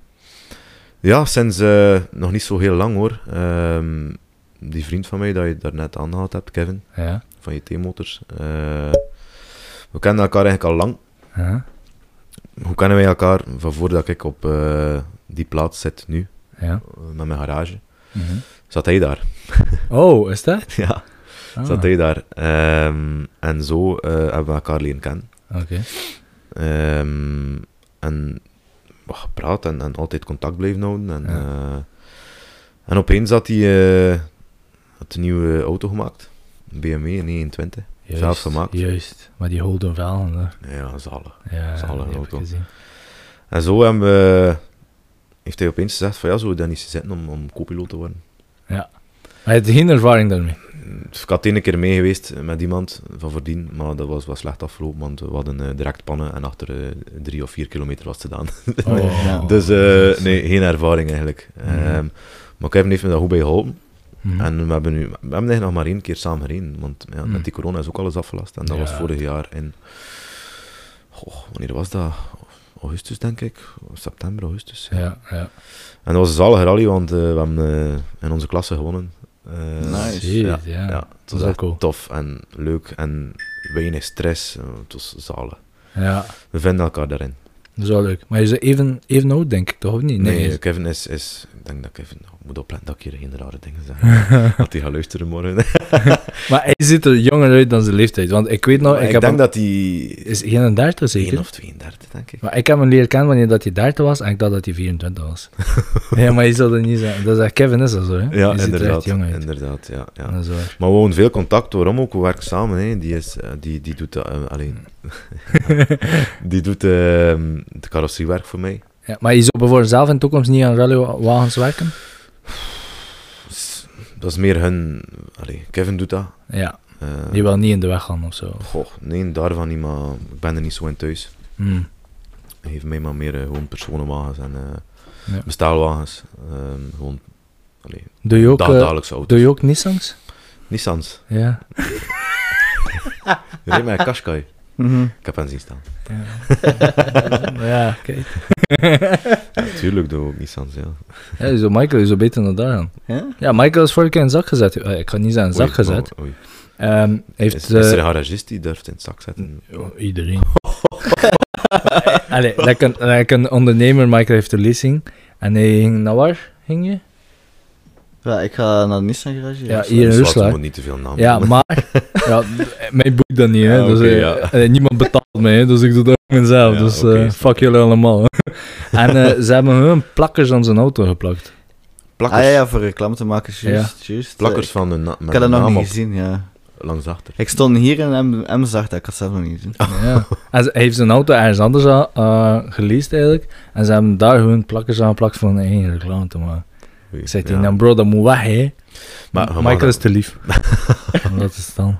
Ja, sinds eh, nog niet zo heel lang hoor. Ehm, die vriend van mij dat je daarnet aangehaald hebt, Kevin, Ja. van je T-motors. eh, we kennen elkaar eigenlijk al lang. Ja. Hoe kennen wij elkaar? Van voordat ik op eh, die plaats zit nu, ja. eh, met mijn garage, Mhm. zat hij daar. Oh, is dat? ja. Ah, zat Oké. hij daar. Ehm, en zo eh, hebben we elkaar leren kennen. Ehm, en we hebben gepraat en, en altijd contact blijven houden. En, Ja. eh, en opeens had hij eh, had een nieuwe auto gemaakt. Een BMW, een 21. Juist, Zelf gemaakt. Juist. Maar die Holden Valen, hè. Ja, zalig. Ja, Zalig die heb ook ik wel. gezien. En zo hebben we, heeft hij opeens gezegd van ja, zou je dan niet zitten om, om co-piloot te worden? Maar je hebt geen ervaring daarmee. Dus ik had één keer mee geweest met iemand van voordien, maar dat was wel slecht afgelopen, want we hadden eh, direct pannen en achter eh, drie of vier kilometer was het gedaan. Oh. Ja. Dus eh, nee, geen ervaring eigenlijk. Mm. Ehm, maar Kevin heeft me daar goed bij geholpen. Mhm. En we hebben nu we hebben eigenlijk nog maar één keer samen gereden. Want ja, Mhm. met die corona is ook alles afgelast. En dat Ja. was vorig jaar in... Goh, wanneer was dat? Augustus, denk ik. September, augustus. ja. Ja, ja. En dat was een zalige rally, want eh, we hebben eh, in onze klasse gewonnen. Eh, Nice. Jeez, Ja, ja. ja, het Dat was is ook echt cool. tof en leuk en weinig stress. Eh, Het was zalig. Ja, We vinden elkaar daarin. dat is wel leuk. Maar je bent even, even oud, denk ik, toch? Of niet? Nee, je- Kevin is, is... Ik denk dat Kevin... Ik moet opletten dat ik hier geen rare dingen zeg. dat hij gaat luisteren morgen. Nou, Maar hij ziet er jonger uit dan zijn leeftijd. Want ik weet nog, Maar ik, ik heb denk hem- dat hij... is 31 zeker? 1 of 32, denk ik. Maar ik heb hem leren kennen wanneer dat hij 30 was en ik dacht dat hij 24 was. ja, maar je zou dat niet zeggen. Dat is echt Kevin is dat zo, hè? Ja, je ziet er inderdaad. echt jong uit. Inderdaad, ja. ja. Dat is waar. Maar we wonen veel contact, waarom ook? We werken samen, hè. Die, is, eh, die, die doet, eh, alleen. die doet eh, de carrosseriewerk voor mij. Ja, maar je zou bijvoorbeeld zelf in de toekomst niet aan rallywagens werken? Dus dat is meer hun... Allee, Kevin doet dat. Ja, Eh, die wil niet in de weg gaan of zo. goh, nee, daarvan niet, maar ik ben er niet zo in thuis. Hmm. Ik geef mij maar meer eh, gewoon personenwagens en eh Ja. bestelwagens. Ehm, gewoon allee, Doe je ook, da- eh, dagelijkse auto's. doe je ook Nissans? Nissans. Ja. Rijd met een Qashqai. Mhm. Ik heb hen zien staan. Ja, ja oké. Natuurlijk doe ik ook Nissans, ja. Ja, zo Michael is zo beter dan daaraan. Ja? Ja, Michael is vorige keer in zak gezet. Eh, ik ga niet zeggen in zak Oei, gezet. oh, oei. Ehm, Is, heeft, is er een eh, garagist die durft in het zak zetten? oh, iedereen. Allee, like een, like een ondernemer, Michael heeft de leasing. En hij ging naar waar? Ging je? Ja, ik ga naar de Nissan garage. Ja, zo. hier in Dus laten we Rusland. niet te veel namen. Ja, maar ja, mijn boek dan niet, hè. Ah, dus, oké, eh, ja. eh, niemand betaalt mij, hè, dus ik doe dat ook mezelf. Ja, dus oké, eh, snap fuck ik. jullie allemaal. hè. en eh, ze hebben hun plakkers aan zijn auto geplakt. Plakkers, Ah ja, ja, voor reclame te maken, juist. juist. plakkers Ik- van hun na- met Ik had dat hun nog naam niet op, gezien, ja. langs achter. Ik stond hier en M, M zag dat, ik had het zelf nog niet gezien. Oh. Ja. En ze, hij heeft zijn auto ergens anders al, eh geleased eigenlijk. En ze hebben daar hun plakkers aan geplakt van één reclame te maken. Oei, Ik zei ja. tegen hem, bro, dat moet weg, hè. Maar je mag Michael dat- is te lief. dat is het dan.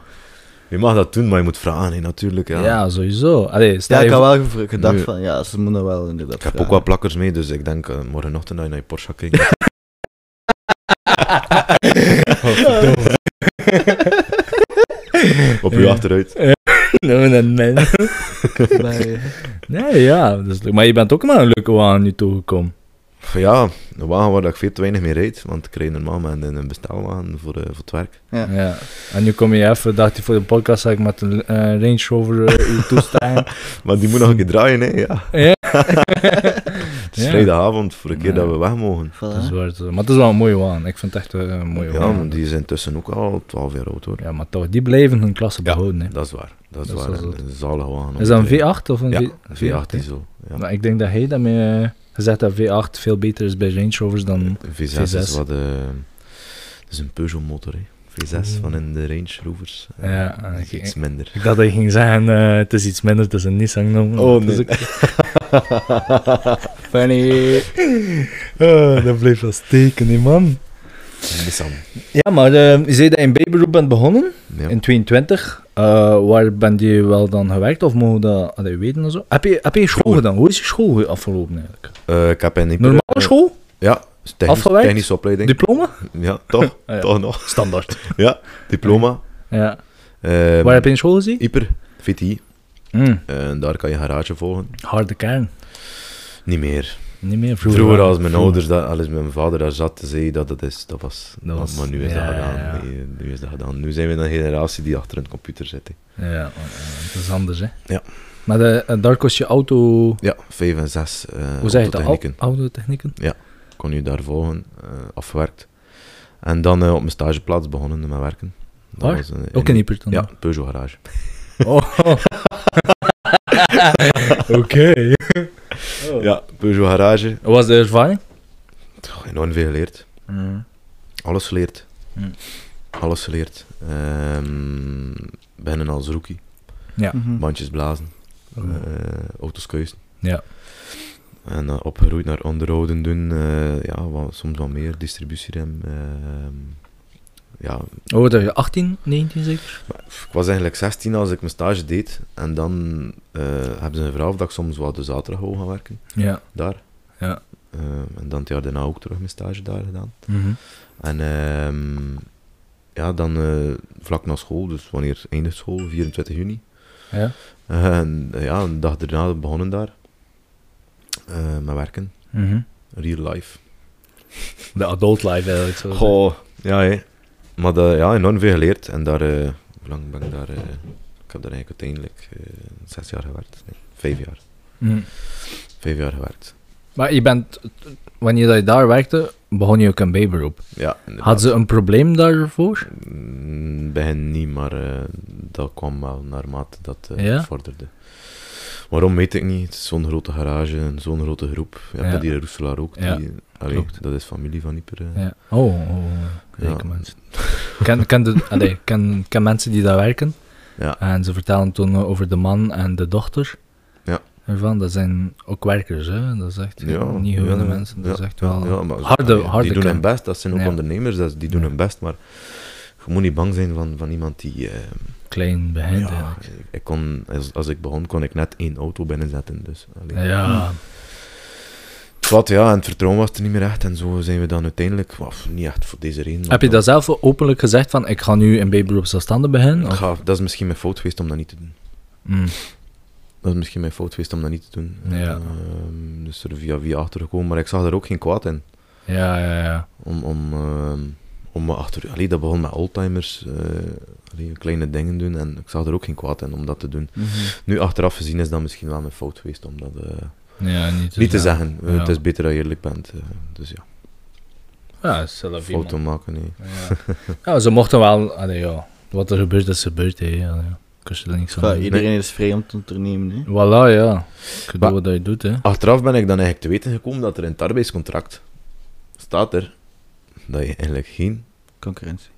Je mag dat doen, maar je moet vragen, hè, natuurlijk. Ja. Ja, sowieso. Allee, stel Ja, ik je had voor- wel gev- gedacht Nu- van, ja, ze moeten wel inderdaad Ik heb ook vragen. wat plakkers mee, dus ik denk eh, morgenochtend dat je naar je Porsche gaat kijken. Godverdomme. Op je Ja. achteruit. Nou, dat man. Nee. Nee, ja. dat is leuk. maar je bent ook maar een leuke wagen nu toegekomen. Van Ja, een wagen waar ik veel te weinig mee rijd, want ik rijd normaal met een een bestelwagen voor, eh, voor het werk. Ja. Ja. En nu kom je even, dacht je voor de podcast, dat ik met een eh, Range Rover uh, toestaan. Maar die moet nog een keer draaien, hè. Ja. Ja. Het is Ja. vrijdagavond, voor de keer Ja. dat we weg mogen. Voilà. Dat is waar, dat is waar. Maar het is wel een mooie waan. Ik vind het echt eh, een mooie Ja, waan. maar die is intussen ook al 12 jaar oud, hoor. Ja, maar toch, die blijven hun klasse Ja. behouden. Hè. Dat is waar. Dat is Dat is waar. wel zo. Een zalige wagen. om Is te dat een rijden. V8 of een Ja, V- V8 hè? diesel. Ja. Nou, ik denk dat hij daarmee eh, gezegd dat V8 veel beter is bij Range Rovers dan... V6, V6. is wat... eh het is een Peugeot motor, hè. V6 van in de Range Rovers. Eh, Ja, Ah, en dat is ik- iets minder. Ik dacht dat je ging zeggen, eh, het is iets minder, het is een Nissan. Nou, Oh, het is nee. ook- Funny. Ah, dat bleef wel steken, die man. Nissan. Ja, maar eh, je zei dat je in bijberoep bent begonnen, Ja. in 22. Eh, waar ben je wel dan gewerkt, of mogen we dat allee, weten en zo? Heb je, heb je school gedaan? Hoe is je school afgelopen eigenlijk? Eh, ik heb in die Normale eh, school? Ja, technisch, Afgewerkt? technische opleiding. Diploma? Ja, toch? Ah, ja. Toch nog. Standaard. Ja, diploma. Ja. Ehm, Waar heb je in school gezien? Ieper, VTI. Mm, En daar kan je garage volgen. harde kern. Niet meer. Niet meer vroeger. Vroeger als mijn Vroeger. ouders, dat, als mijn vader daar zat, zei hij dat dat is, dat was... Dat was- maar nu is ja, dat gedaan. ja, ja. Nee, nu is dat gedaan. Nu zijn we een generatie die achter een computer zit. hè. Ja, eh, dat is anders, hè. Ja. Maar de, eh, daar kost je auto... Ja, vijf en zes. eh Hoe zeg je dat? autotechnieken. Au- Autotechnieken? kon je daar volgen, eh, afgewerkt. En dan eh, op mijn stageplaats begonnen met werken. Dat Waar? was, eh, in- Ook in Ieperton? Ja, Peugeot garage. Oh. Oké. Ja, Peugeot garage. Wat was de ervaring? Toch, enorm veel geleerd. Mm. Alles geleerd. Hmm. Alles geleerd. Ehm beginnen als rookie. Mhm. Bandjes blazen. Oh. eh, auto's kuisen. Ja. En eh, opgeroeid naar onderhouden doen. eh, ja, wat- soms wat meer. Distributierem. ehm, ja, Hoe oud was Oh, je? 18, 19 zeker? ik was eigenlijk 16 als ik mijn stage deed. En dan eh hebben ze een vraag of dat ik soms wat de zaterdag wou gaan werken. Ja. Daar. Ja. Ehm, en dan het jaar daarna ook terug mijn stage daar gedaan. Mhm. En ehm, ja, dan eh, vlak na school, dus wanneer eindigt school? 24 juni. Ja. En eh, ja, een dag daarna begonnen daar eh, met werken, Mhm. real life. De adult life eigenlijk. Zo Goh, ja hè. Maar dat, ja, enorm veel geleerd en daar, eh, hoe lang ben ik daar, eh, ik heb daar eigenlijk uiteindelijk eh, zes jaar gewerkt. Nee, vijf jaar. Mhm. Vijf jaar gewerkt. Maar je bent, wanneer dat je daar werkte, begon je ook een bijberoep. Ja, inderdaad. Had ze een probleem daarvoor? Mm, Bij hen niet, maar eh, dat kwam wel naarmate dat eh, Ja? vorderde. Waarom weet ik niet. Het is zo'n grote garage en zo'n grote groep. Je hebt Ja. dat hier in Roeselaar ook. Die, Ja, allee, klopt. dat is familie van Ieper. eh. Ja. Oh, oh, oh. Ja. Zeker mensen. Ken, ken, de, allee, ken, ken mensen die daar werken. Ja. En ze vertellen toen over de man en de dochter. Ja. Ervan. Dat zijn ook werkers, hè? Dat is echt Ja, niet gewone ja, mensen. Dat ja, is echt wel ja, maar zo- harde, allee, harde die doen kern. hun best. Dat zijn ook Ja. ondernemers, dat, die doen Ja. hun best. Maar je moet niet bang zijn van, van iemand die... eh, Klein ja, behend. eigenlijk. ik- ik kon, als, als ik begon, kon ik net één auto binnenzetten. Dus, allee. Ja. Wat, ja, en het vertrouwen was er niet meer echt. En zo zijn we dan uiteindelijk, waf, niet echt voor deze reden. Heb je want dat zelf openlijk gezegd van ik ga nu een babyberoep zelfstandig dan- beginnen? Of- Ga, dat is misschien mijn fout geweest om dat niet te doen. Mm. Dat is misschien mijn fout geweest om dat niet te doen. Ja. Ehm, dus er via via achtergekomen. Maar ik zag er ook geen kwaad in. Ja, ja, ja. Om, om, ehm, om me achter... Allee, dat begon met oldtimers. eh, allee, kleine dingen doen. En ik zag er ook geen kwaad in om dat te doen. Mhm. Nu, achteraf gezien, is dat misschien wel mijn fout geweest om dat eh, ja niet te niet te zeggen. Eh, Ja. Het is beter dat je eerlijk bent. eh, dus ja, Ja, zelf fouten maken, nee. Ja. ja, ze mochten wel... Allee, ja. Wat er gebeurt, is gebeurd. Hè. Ja, ja. Kun je er niks Ja, van doen. iedereen is vrij om te ondernemen. Hè. Voilà, ja. Ik Maar- doe wat je doet, hè. Achteraf ben ik dan eigenlijk te weten gekomen dat er in het arbeidscontract staat er dat je eigenlijk geen Concurrentie.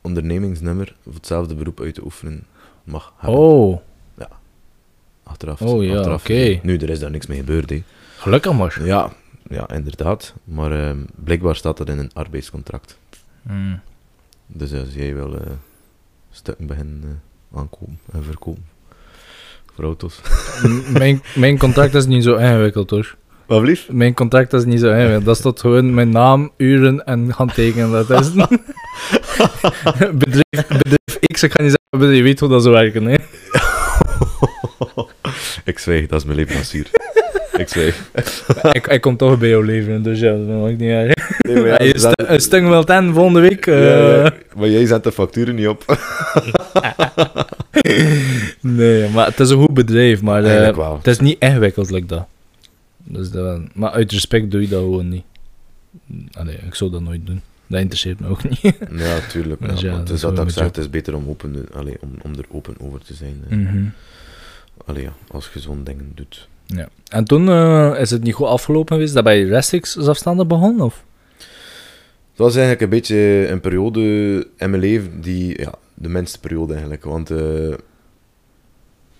ondernemingsnummer voor hetzelfde beroep uit te oefenen mag hebben. Oh, achteraf. oh ja, achteraf. oké. Nu, er is daar niks mee gebeurd. Hè. gelukkig maar. Ja, ja, inderdaad. Maar ehm, blijkbaar staat dat in een arbeidscontract. Mm. Dus als jij wil eh, stukken beginnen eh, aankopen en verkopen voor auto's. M- mijn, mijn contract is niet zo ingewikkeld, hoor. Wat blieft? Mijn contract is niet zo ingewikkeld. Dat staat gewoon mijn naam, uren en handtekenen. Dat is bedrijf, bedrijf X, ik ga niet zeggen, maar je weet hoe dat zo werken, hè. ik zweeg, dat is mijn leverancier. ik zweeg. ik, ik kom toch bij jou leveren, dus ja, dat maakt niet uit. Nee, maar ja, dus Als je ze zaten- stu- een stuk eh, wilt aan volgende week... eh, Ja, ja, Maar jij zet de facturen niet op. Nee, maar het is een goed bedrijf, maar eh, Eigenlijk wel. het is niet ingewikkeld, like dat. Dus dat- maar uit respect doe je dat gewoon niet. Allee, ik zou dat nooit doen. Dat interesseert me ook niet. Ja, tuurlijk. Dus ja, ja, het dat is is wat wel ik mijn zeg, job. het is beter om, open, allee, om, om er open over te zijn. eh. Mm. Allee, ja, als je zo'n dingen doet. En toen eh, is het niet goed afgelopen geweest dat bij Restix zelfstandig begon? Of? Het was eigenlijk een beetje een periode in mijn leven die... Ja, de minste periode eigenlijk, want... eh,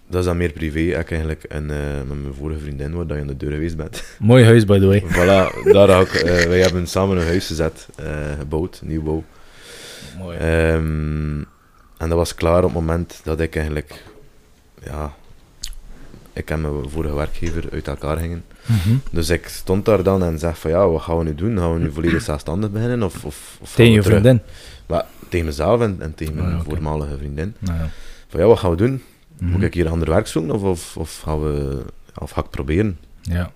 dat is dan meer privé. Ik eigenlijk en, eh, met mijn vorige vriendin, waar dat je aan de deur geweest bent. Mooi huis, by the way. voilà, daar ook. eh, wij hebben samen een huis gezet, eh, gebouwd, nieuwbouw. Mooi. Ehm, en dat was klaar op het moment dat ik eigenlijk, ja, ik en mijn vorige werkgever uit elkaar gingen. Mhm. Dus ik stond daar dan en zeg van ja, wat gaan we nu doen? Gaan we nu volledig zelfstandig beginnen? Of, of, of gaan Tegen we je terug- vriendin. Maar, tegen mezelf en, en tegen mijn Ah, oké. voormalige vriendin. Nou, ja. Van ja, wat gaan we doen? Moet Mhm. ik hier ander werk zoeken of, of, of gaan we, of ga ik het proberen? ja.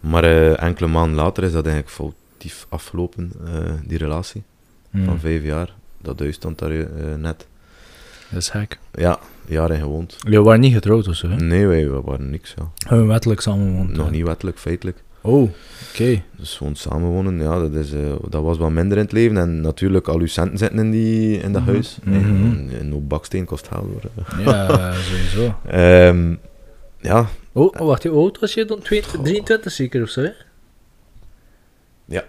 Maar eh, enkele maanden later is dat eigenlijk foutief afgelopen, eh, die relatie Mm. van vijf jaar. Dat huis stond daar eh, net. Dat is gek. Ja, jaren gewoond. Jullie waren niet getrouwd of zo, hè? Nee, wij, we waren niks, ja. Hebben we wettelijk samenwoond? Mm. Nog hè? niet wettelijk, feitelijk. Oh, oké. Dus gewoon samenwonen, ja, dat, is, eh, dat was wat minder in het leven. En natuurlijk, al uw centen zitten in, die, in dat Mhm. huis. Nee, Mhm. en- en ook baksteen kost geld, hoor. Ja, sowieso. Ehm, ja, Oh, wacht, hoe oud was je dan? 22, 23 zeker of zo, hè? Ja.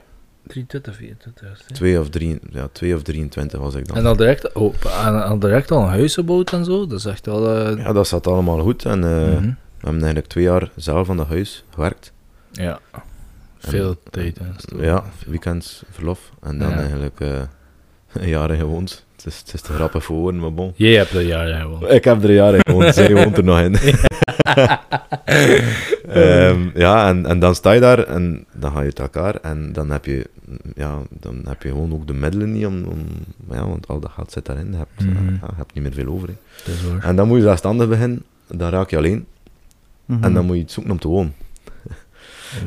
23, 24. hè? twee of, drie, ja, twee of 23 was ik dan. En al direct, oh, en al direct al een huis gebouwd en zo, dat is echt wel... eh, Ja, dat zat allemaal goed. En eh, mhm. we hebben eigenlijk twee jaar zelf aan dat huis gewerkt. ja. Veel tijd en zo. Ja, weekends verlof. En dan Ja. eigenlijk eh, jaren gewoond. Het is, het is te grappig voor woorden, maar bon. Jij hebt dat jaar gewoon. Ik heb er jaren gewoond, zij woont er nog in. Ehm, ja, en, en dan sta je daar en dan ga je uit elkaar. En dan heb je, ja, dan heb je gewoon ook de middelen niet om... om ja, want al dat geld zit daarin. Je hebt, eh, Mhm. ja, je hebt niet meer veel over. hè. Dat is waar. En dan moet je zelfstandig beginnen. Dan raak je alleen. Mhm. En Mhm. dan moet je iets zoeken om te wonen.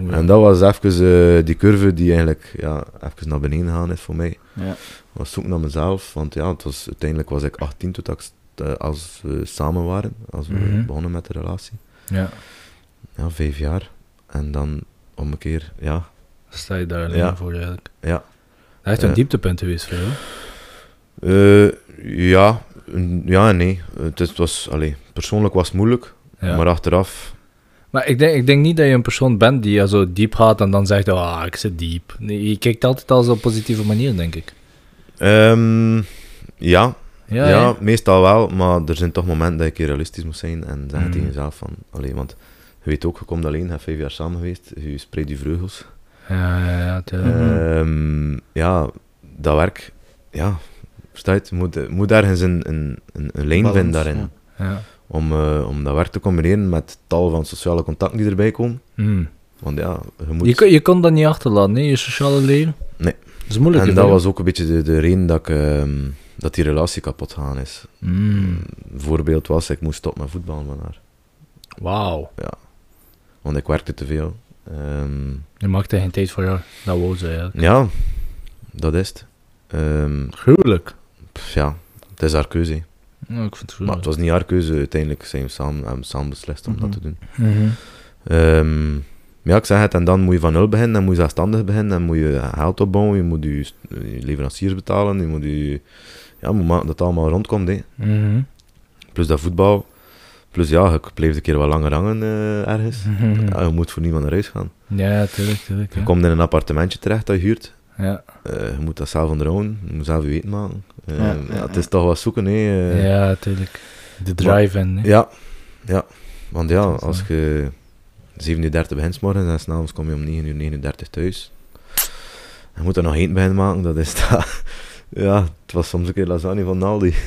Oeh. En dat was even eh, die curve die eigenlijk ja, even naar beneden gegaan is voor mij. Ja. was zoek naar mezelf, want ja, het was, uiteindelijk was ik 18 toen ik, st- eh, als we samen waren, als we Mhm. begonnen met de relatie. Ja, Ja, vijf jaar. En dan om een keer, ja, sta je daar alleen Ja. voor eigenlijk. ja. Eh. Dat is echt een Ja. dieptepunt geweest voor jou. Eh, ja, n- ja en nee. Het, is- het was, allee, persoonlijk was het moeilijk, Ja. maar achteraf, Maar ik denk, ik denk niet dat je een persoon bent die ja, zo diep gaat en dan zegt, ah, ik zit diep. Nee, je kijkt altijd al zo op positieve manier, denk ik. ehm, ja, Ja, ja, ja. meestal wel, maar er zijn toch momenten dat ik hier realistisch moet zijn en zeggen Mhm. tegen jezelf van, allee, want je weet ook, je komt alleen, je hebt vijf jaar samen geweest, je spreidt je vleugels. eh, Ja, ja, ja, tuurlijk. Ehm, ja, dat werk, ja, Verstaat? Je moet, je moet ergens een, een, een, een lijn Balans, vinden daarin. ja. Ja. Om, eh, om dat werk te combineren met tal van sociale contacten die erbij komen. Hmm. Want ja, je moet... Je, kon- je kon dat niet achterlaten, hè? je sociale leven. Nee. Dat is moeilijk. en hè, dat hè? was ook een beetje de, de reden dat, ik, ehm, dat die relatie kapot gaan is. Hmm. Een voorbeeld was, ik moest stoppen met voetbal van haar. Wauw. Want ik werkte te veel. Ehm, Je maakte geen tijd voor jou. Dat wou ze eigenlijk. ja, dat is het. Ehm, Gruwelijk. pff, ja, het is haar keuze. hè. Ja, ik vind het Maar het gruwelijk. was niet haar keuze. Uiteindelijk zijn we samen, hebben we samen beslist om Mhm. dat te doen. Mhm. Ehm, ja, ik zeg het. En dan moet je van nul beginnen. Dan moet je zelfstandig beginnen. Dan moet je geld opbouwen. Je moet je, st- je leveranciers betalen. Je moet je... Ja, je moet maken dat het allemaal rondkomt. Hè. Mhm. Plus dat voetbal. Plus ja, ik bleef een keer wat langer hangen eh, ergens. Mhm. Ja, je moet voor niemand naar huis gaan. Ja, tuurlijk, tuurlijk. Je hè. komt in een appartementje terecht dat je huurt. Ja. Eh, je moet dat zelf onderhouden. Je moet zelf je weten maken. Eh, Ja, ja, ja, het ja. is toch wat zoeken. Hè. eh. ja, tuurlijk. De drive-in. hè. Ja, ja. Want ja, Dat is als waar. je 7 uur 30 begint 's morgens en s'avonds kom je om 9 uur 39 thuis. Je moet er nog één bij maken, dat is dat. Ja, het was soms een keer lasagne van Naldi.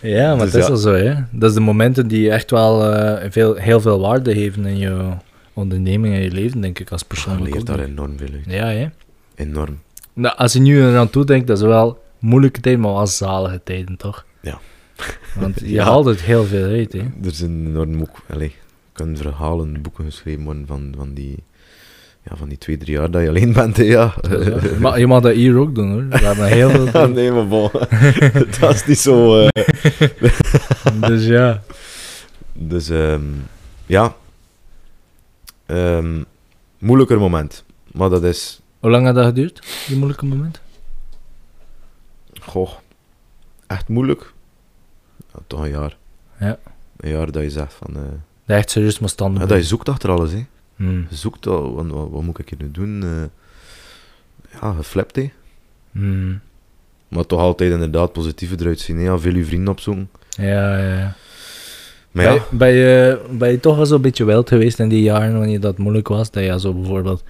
ja, maar Dus het is ja. al zo, hè. Dat is de momenten die echt wel eh, veel, heel veel waarde geven in je onderneming en je leven, denk ik, als Je persoonlijk. leert ook, daar denk enorm veel uit. ik. Ja, hè. Enorm. Nou, als je nu eraan toe denkt, dat is wel moeilijke tijden, maar wel zalige tijden, toch? Ja. Want je Ja. haalt het heel veel uit, hè. Er zijn enorm ook, allee, er kunnen verhalen, boeken geschreven worden van, van die... Ja, van die twee, drie jaar dat je alleen bent, hè, ja. Dat is waar. Je mag- je mag dat hier ook doen, hoor. We hebben heel veel Ah, nee, maar bon. dat is niet zo... eh, Dus ja. Dus ehm, ja, Ehm, moeilijker moment. Maar dat is, Hoe lang had dat geduurd, die moeilijke moment? goh, echt moeilijk. Ja, toch een jaar. Ja. Een jaar dat je zegt van, eh, Dat echt serieus moest ja, standen. dat je zoekt achter alles. Hè. Hmm. Je zoekt, al, wat, wat, wat moet ik hier nu doen? Eh, ja, geflipt hè. Hmm. Maar toch altijd inderdaad positieve eruit zien. Hè. Ja, veel je vrienden opzoeken. Ja, ja, ja. Maar ben, ja, je- ben je, ben je toch wel zo'n beetje wild geweest in die jaren wanneer dat moeilijk was? Dat je zo bijvoorbeeld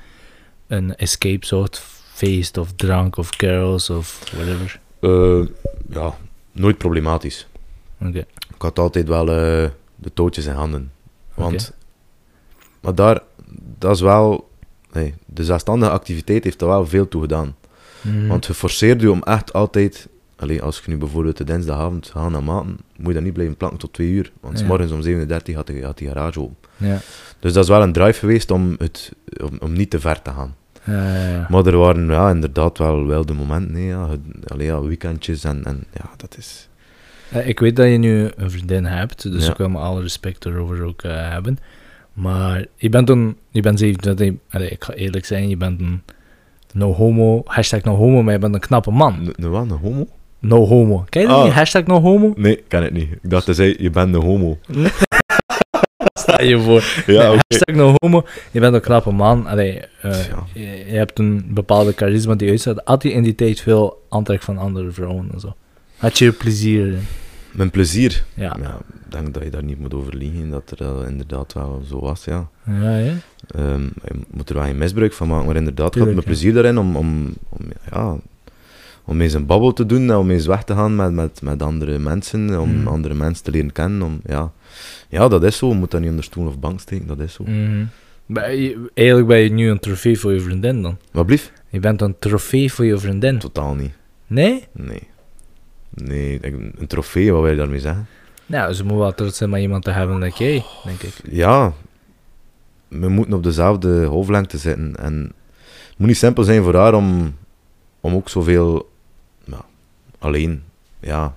een escape zocht, feest of drank of carols of whatever. eh, ja, nooit problematisch. Oké. Ik had altijd wel eh, de touwtjes in handen. Want, maar daar, dat is wel, nee, de zelfstandige activiteit heeft er wel veel toe gedaan. Mhm. Want je forceert je om echt altijd, alleen als je nu bijvoorbeeld de dinsdagavond gaat naar maten, moet je dan niet blijven plakken tot twee uur. Want Ja. s morgens om 37 had, die- had die garage open. ja. Dus dat is wel een drive geweest om, het, om, om niet te ver te gaan. Ja, ja, ja. Maar er waren ja, inderdaad wel, wel de momenten, nee, ja, het- allee, ja, weekendjes en, en ja, dat is... Eh, Ik weet dat je nu een vriendin hebt, dus Ja. ik wil me alle respect erover ook eh, hebben. Maar je bent een, je bent 27, allee, ik ga eerlijk zijn, je bent een no homo, hashtag no homo, maar je bent een knappe man. N- Een wat, een homo? No homo. Ken je dat Ah. niet? Hashtag no homo? Nee, kan het niet. Ik dacht, hij zei, je bent een homo. Sta je voor. Ja, oké. Hashtag no homo. Je bent een knappe man. Allee, eh, Ja. je, je hebt een bepaalde charisma die uitstaat. Had je in die tijd veel aantrek van andere vrouwen en zo? Had je er plezier in? Mijn plezier. Ja. Ja. ik denk dat je daar niet moet over liegen, dat er eh, inderdaad wel zo was, ja. Ja, ja. Ehm, je moet er wel geen misbruik van maken, maar inderdaad, ik had Tuurlijk, mijn ja. plezier daarin om, om, om, ja, om eens een babbel te doen en om eens weg te gaan met, met, met andere mensen, om Mhm. andere mensen te leren kennen. Om, ja. ja, dat is zo. Je moet dat niet onder stoel of bank steken, dat is zo. Mhm. Ben je- Eigenlijk ben je nu een trofee voor je vriendin dan. Maar blief? Je bent een trofee voor je vriendin. Totaal niet. Nee? Nee. Nee, ik- een trofee, wat wil je daarmee zeggen? Nou, ze moet wel trots zijn om iemand te hebben like jij, denk ik. ja, we moeten op dezelfde hoofdlengte zitten. En het moet niet simpel zijn voor haar om, om ook zoveel ja, alleen, ja,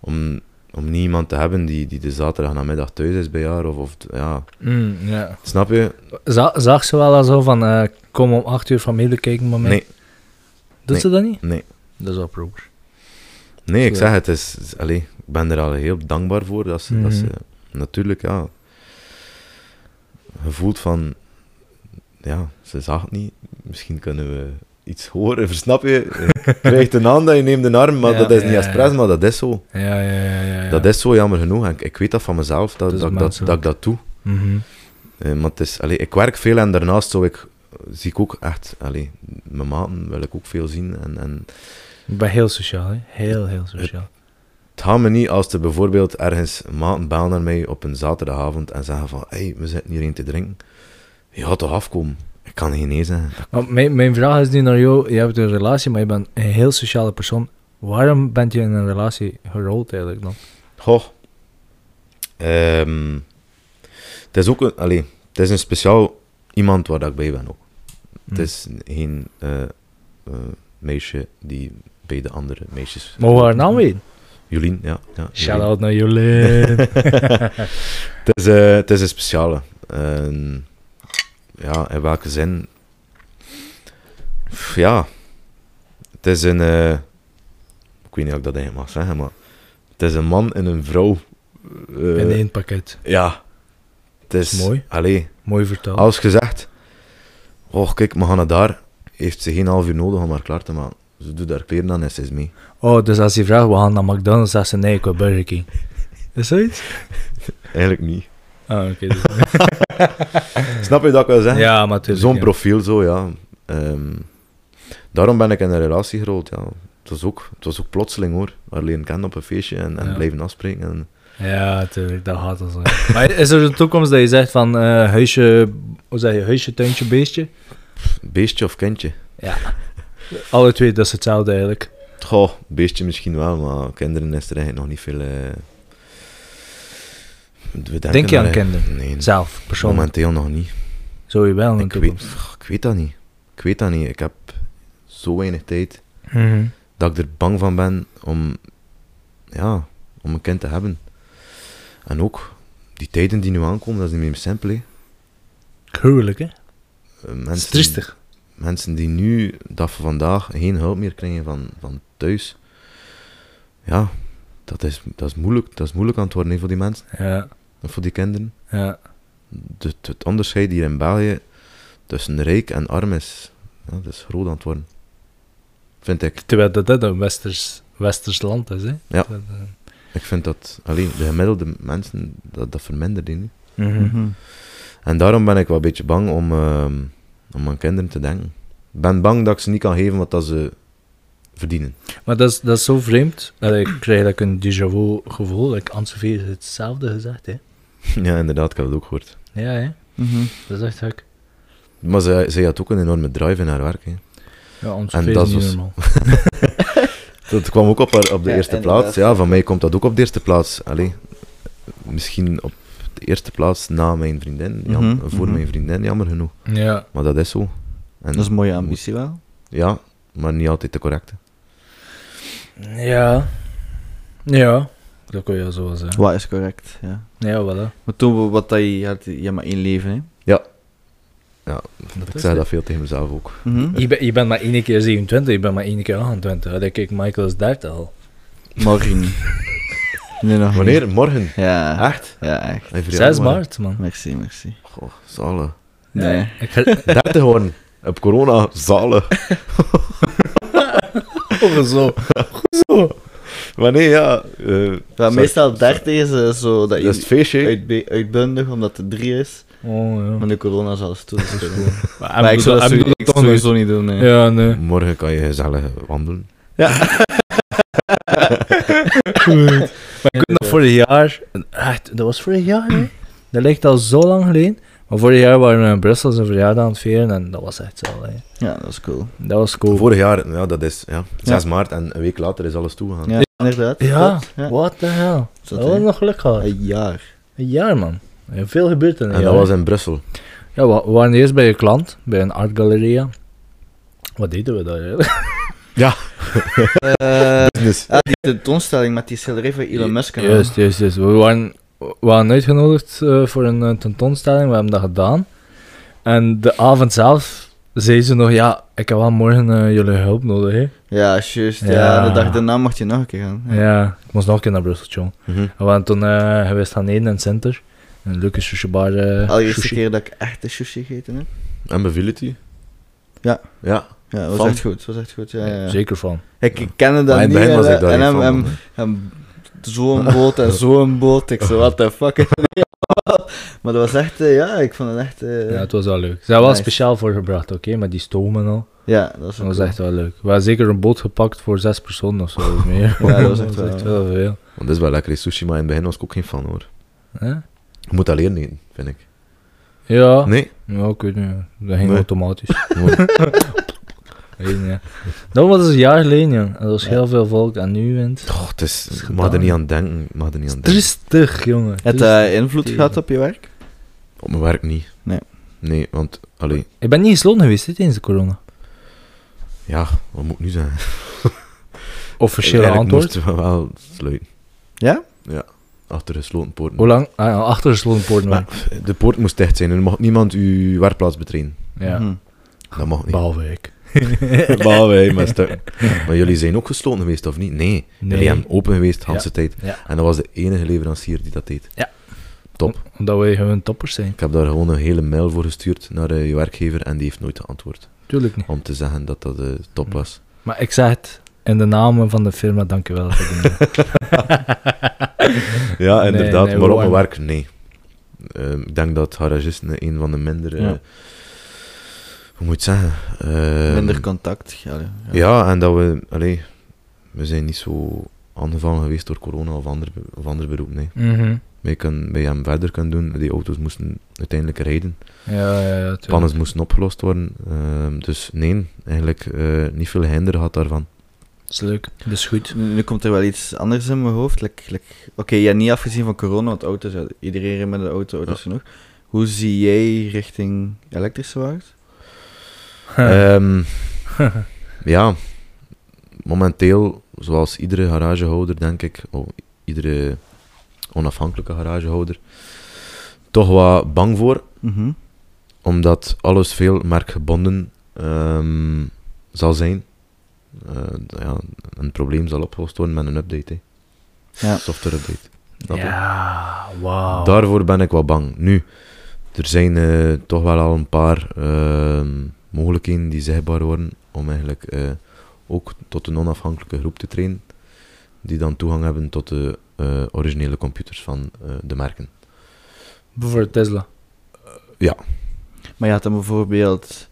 om, om niet iemand te hebben die, die de zaterdag namiddag thuis is bij haar. Of, of, ja. Mm, ja. Snap je? Za- zag ze wel al zo van, eh, kom om acht uur familie kijken maar mij? Nee, Doet nee. ze dat niet? nee. Dat is wel proper. Nee, ik Ja. zeg het. Is, is- allee, ik ben er al heel dankbaar voor. Dat ze, dat ze, Mhm. natuurlijk, ja. Gevoeld van... Ja, ze zag het niet. Misschien kunnen we iets horen. Versnap je? Je krijgt een hand en je neemt een arm. Maar Ja, dat is niet ja, expres, ja. maar dat is zo. Ja, ja, ja. ja, Dus ja. Dat is zo, jammer genoeg. En ik, ik weet dat van mezelf, dat, is dat, ik dat, menselijk. dat ik dat doe. Mhm. Eh, maar het is... Allee, ik werk veel en daarnaast zou ik zie ik ook echt, allee, mijn maten wil ik ook veel zien. En, en Ik ben heel sociaal, hè. Heel, heel sociaal. het gaat me niet als er bijvoorbeeld ergens maten bellen naar mij op een zaterdagavond en zeggen van, hé, hey, we zitten hierheen te drinken. Je gaat toch afkomen? Ik kan geen nee zeggen. Want mijn, mijn vraag is nu naar jou. Je hebt een relatie, maar je bent een heel sociale persoon. Waarom bent je in een relatie gerold eigenlijk dan? Goh. Ehm, het is ook een, allee, het is een speciaal iemand waar dat ik bij ben ook. Het is geen eh, eh, meisje die bij de andere meisjes... Maar hoe haar naam weten? Jolien, ja. ja Shout Jolien. out naar Jolene. Het is, eh, het is een speciale. Ehm, ja, in welke zin? Pff, Ja, het is een. eh, ik weet niet of ik dat eigenlijk mag zeggen, maar. Het is een man en een vrouw. eh, in één pakket. Ja. Het is, Mooi. Allee, Mooi vertaald. als gezegd. Oh, kijk, we gaan naar daar. Heeft ze geen half uur nodig om haar klaar te maken. Ze doet haar kleren aan en ze is mee. Oh, dus als je vraagt, we gaan naar McDonald's, zegt ze nee, ik wil Burger King. Is zoiets? Eigenlijk niet. Ah, oké. dus- Snap je dat ik wil zeggen? ja, maar tuurlijk, Zo'n ja. profiel, zo ja. Ehm, daarom ben ik in een relatie gerold. Ja. Het, was ook, het was ook plotseling hoor. Maar leren kennen op een feestje en, en Ja. blijven afspreken. En, Ja, tuurlijk, dat gaat al zo. maar is er een toekomst dat je zegt van eh, huisje, hoe zeg je, huisje, tuintje, beestje? beestje of kindje? Alle twee, dat is hetzelfde eigenlijk. Goh, beestje misschien wel, maar kinderen is er eigenlijk nog niet veel. eh, we denken Denk je daar aan eigenlijk- kinderen? Nee, Zelf, persoonlijk. momenteel nog niet. Zo je wel in de Ik weet, toekomst. pff, ik weet dat niet. Ik weet dat niet. Ik heb zo weinig tijd Mhm. dat ik er bang van ben om, ja, om een kind te hebben. En ook, die tijden die nu aankomen, dat is niet meer simpel. hè. Gruwelijk, hè? Eh, Dat is Mensen, triestig. mensen die nu, dat van vandaag, geen hulp meer krijgen van, van thuis. Ja, dat is, dat, is moeilijk, dat is moeilijk aan het worden hè, voor die mensen, Ja, of voor die kinderen. ja. De, het onderscheid hier in België tussen rijk en arm is, ja, dat is groot aan het worden. Vind ik. Terwijl dat dat een westers, westers land is, hè? Ja. Dat, eh, Ik vind dat alleen de gemiddelde mensen, dat, dat vermindert die nu. mhm. Mhm. En daarom ben ik wel een beetje bang om, ehm, om aan kinderen te denken. Ik ben bang dat ik ze niet kan geven wat dat ze verdienen. Maar dat is, dat is zo vreemd. Allee, ik krijg dat ik een déjà vu gevoel. Like, Anne-Sophie is hetzelfde gezegd, hè? ja, inderdaad, ik heb het ook gehoord. Ja, hè? Mhm. Dat is echt gek. Maar zij, zij had ook een enorme drive in haar werk. Hè. Ja, En Anne-Sophie dat is niet was- normaal. Dat kwam ook op, haar, op de Ja, eerste inderdaad. plaats. Ja, van mij komt dat ook op de eerste plaats. Allee, misschien op de eerste plaats na mijn vriendin. jam- Mhm, Voor mhm. mijn vriendin, jammer genoeg. Ja. Maar dat is zo. En, Dat is een mooie ambitie wel. Ja, maar niet altijd de correcte. Ja. Ja. Dat kun je wel zo wel zeggen. Wat is correct, ja. Ja, wel hè. Maar toen, we- wat dat je had, je hebt maar één leven, hè. Dat ik is zeg het. dat veel tegen mezelf ook. Mhm. Je, ben- je bent maar één keer 27, je bent maar één keer 28. Allee, kijk, Michael is 30 al. Morgen. nee, nog niet. Wanneer? Morgen? Ja. Echt? Ja, echt. Hey, voor 6 januari. maart, man. Merci, merci. Goh, zalig. Nee. Ja, ik ga 30 worden. Op corona, zalig. over zo. Maar nee, ja. eh, Ja, sorry. meestal 30 is eh, zo dat Dat is het je feestje. hè. uitbe- uitbundig omdat het 3 is. Oh, Maar ja. de corona zal alles dus toestaan. Maar, Maar ik zou dat sowieso, ik zou sowieso niet doen. Nee. Ja, nee. Morgen kan je gezellig wandelen. Maar ik weet nog vorig jaar... Echt, dat was vorig jaar, hè? Dat ligt al zo lang geleden. Maar vorig jaar waren we in Brussel zijn verjaardag aan het vieren en dat was echt zo, hè. Ja, dat is cool. Dat was cool. Vorig jaar, ja, dat is ja, 6 maart en een week later is alles toegegaan. Ja, inderdaad. Ja, klopt, ja. what the hell. Zot, Dat was hè? nog geluk gehad. Een jaar. Een jaar, man. Er is Veel gebeurd in een En jaar. dat was in Brussel. Ja, we we waren eerst bij een klant, bij een artgaleria. Wat deden we daar eigenlijk? Eh, Business. ah, die tentoonstelling met die schilderij van Elon Musk. en al. Juist, juist, juist. We waren, we waren uitgenodigd eh, voor een eh, tentoonstelling, we hebben dat gedaan. En de avond zelf zei ze nog, ja, ik heb wel morgen eh, jullie hulp nodig, hè. Ja, juist. Ja. Ja. de dag daarna mocht je nog een keer gaan. Ja. Ja, ik moest nog een keer naar Brussel, jong. Mhm. We waren toen eh geweest gaan eten in het center. Een leuke sushi bar. eh, Allereerste sushi. keer dat ik echt de sushi gegeten heb. En beviel het je? Ja. Ja. Ja, dat was Van? echt goed. Dat was echt goed. Ja, ja, ja. Zeker van. Ik ik kende dat Maar in niet. eh, het begin was en- ik daar en niet van. hem, hem, hem zo'n boot en zo'n boot. Ik zo, what the fuck. is dit allemaal? Maar dat was echt, eh, ja, ik vond het echt... eh, Ja, ja, het was wel leuk. Ze zijn wel Nice. speciaal voor gebracht, oké, met die stomen al. dat was, Dat was cool. echt wel leuk. We hebben zeker een boot gepakt voor zes personen of zo. of meer. Ja, dat was echt wel- veel. Want dat is wel lekker. Die Sushi, maar in het begin was ik ook geen fan hoor. Hè? Je moet dat leren eten, vind ik. Ja. Nee. Ja, ik weet niet. ja. Dat ging Nee. automatisch. Gewoon- Eén, ja. Dat was een jaar geleden, ja. En dat was heel veel volk en nu wint. Goh, het is, is je mag er gedaan. niet aan denken. je Mag er niet aan denken. Tristig, jongen. Heeft Dus eh, Triestig. dat eh, invloed tegen. gehad op je werk? Op mijn werk niet. Nee. Nee, want, allee, Ik ben niet in Sloten geweest hè, tijdens de corona. ja, wat moet ik nu zijn? Officiële Eigenlijk antwoord. moesten we wel sluiten. Ja? Ja, achter gesloten poorten. Hoe lang? Ah, ja, achter de Sloten poort Maar, pff, de poort moest dicht zijn en er mocht niemand uw werkplaats betreden. Ja. Mhm. Dat mag niet. Behalve ik. Behalve wij, maar stu- Maar jullie zijn ook gesloten geweest, of niet? Nee. Jullie hebben open geweest, de hele Ja. tijd. Ja. En dat was de enige leverancier die dat deed. Ja. Top. Omdat wij gewoon toppers zijn. Ik heb daar gewoon een hele mail voor gestuurd naar eh, je werkgever en die heeft nooit geantwoord. Tuurlijk niet. Om te zeggen dat dat eh, top was. Maar ik zeg het in de namen van de firma, dankjewel. voor die mail. Ja, Nee, inderdaad. nee, maar op mijn warm. werk, nee. Ehm, ik denk dat garagisten een van de minder... eh, Ja. hoe moet je het zeggen? Ehm, Minder contact. Ja, ja. ja. en dat we... Allee, we zijn niet zo aangevallen geweest door corona of ander, be- of ander beroep, nee. Mhm. Wij, kunnen wij hem verder kunnen doen. Die auto's moesten uiteindelijk rijden. Ja, ja, ja. tuurlijk. Pannen moesten opgelost worden. Ehm, dus nee, eigenlijk eh, niet veel hinder gehad daarvan. Dat is leuk. Dat is goed. Nu, nu komt er wel iets anders in mijn hoofd. like- like- Oké, ja, niet afgezien van corona, want auto's, ja, iedereen rijdt met een auto, auto's genoeg. Hoe zie jij richting elektrische wagens? Ehm, ja, momenteel, zoals iedere garagehouder, denk ik, of iedere onafhankelijke garagehouder, toch wat bang voor, Mhm. omdat alles veel merkgebonden ehm, zal zijn. Eh, d- ja, een probleem zal opgelost worden met een update. hè. Ja. Software update. Snap je? Ja, wauw. Oh. Daarvoor ben ik wat bang. Nu, er zijn eh, toch wel al een paar ehm, mogelijkheden die zichtbaar worden om eigenlijk eh, ook tot een onafhankelijke groep te trainen, die dan toegang hebben tot de eh, originele computers van eh, de merken. Bijvoorbeeld Tesla. Maar je had dan bijvoorbeeld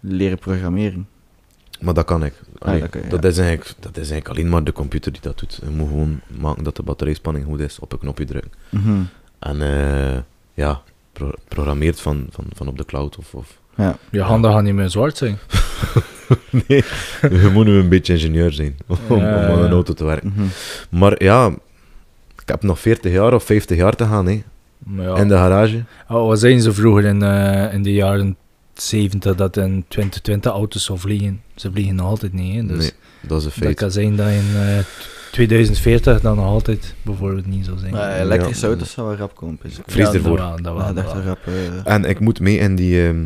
leren programmeren. Maar dat kan ik. Allee, dat kan je, dat, ja. is eigenlijk, dat is eigenlijk alleen maar de computer die dat doet. Je moet gewoon maken dat de batterijspanning goed is, op een knopje drukken. Mhm. En eh, ja, pro- programmeert van, van, van op de cloud of, of Ja. Je handen gaan niet meer zwart zijn. Nee, je moet nu een beetje ingenieur zijn om, om Ja, aan ja. een auto te werken. Mhm. Maar ja, ik heb nog 40 jaar of 50 jaar te gaan hè, Maar ja. in de garage. Oh, wat zijn ze vroeger in, eh, in de jaren 70 dat in 2020 auto's zou vliegen? Ze vliegen nog altijd niet, hè? Dus nee, dat is een dat feit. kan zijn dat in eh, 2040 dat nog altijd bijvoorbeeld niet zou zijn. Maar ja, elektrische ja. auto's zou wel rap komen. Is Vrees Ja, ervoor. Dat wel, dat wel, Ja, dat dat wel. zou rap. eh, En ik moet mee in, die, ehm,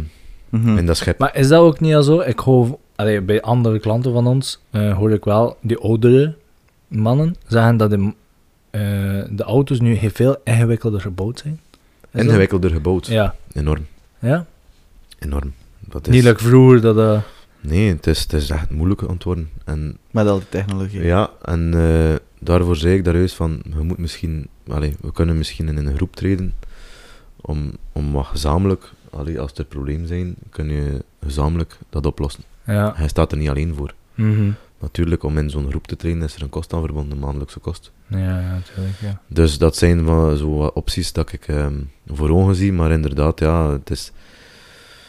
mhm. in dat schip. Hm. Maar is dat ook niet al zo? Ik hoor allee, bij andere klanten van ons eh, hoor ik wel, die oudere mannen zeggen dat de, eh, de auto's nu heel veel ingewikkelder gebouwd zijn. Is dat- Ingewikkelder gebouwd. Ja. Enorm, ja? enorm. Dat is, Niet like vroeger dat... eh, Nee, het is, het is echt moeilijk antwoorden. En Met al die technologie. ja, en eh, daarvoor zei ik daar juist van, je moet misschien, allee, we kunnen misschien in een groep treden om, om wat gezamenlijk, allee, als er problemen zijn, kun je gezamenlijk dat oplossen. ja. Hij staat er niet alleen voor. Mhm. Natuurlijk, om in zo'n groep te trainen is er een kost aan verbonden, een maandelijkse kost. Ja, ja, natuurlijk, ja. Dus dat zijn wel zo wat opties dat ik ehm, voor ogen zie. Maar inderdaad, ja, het is,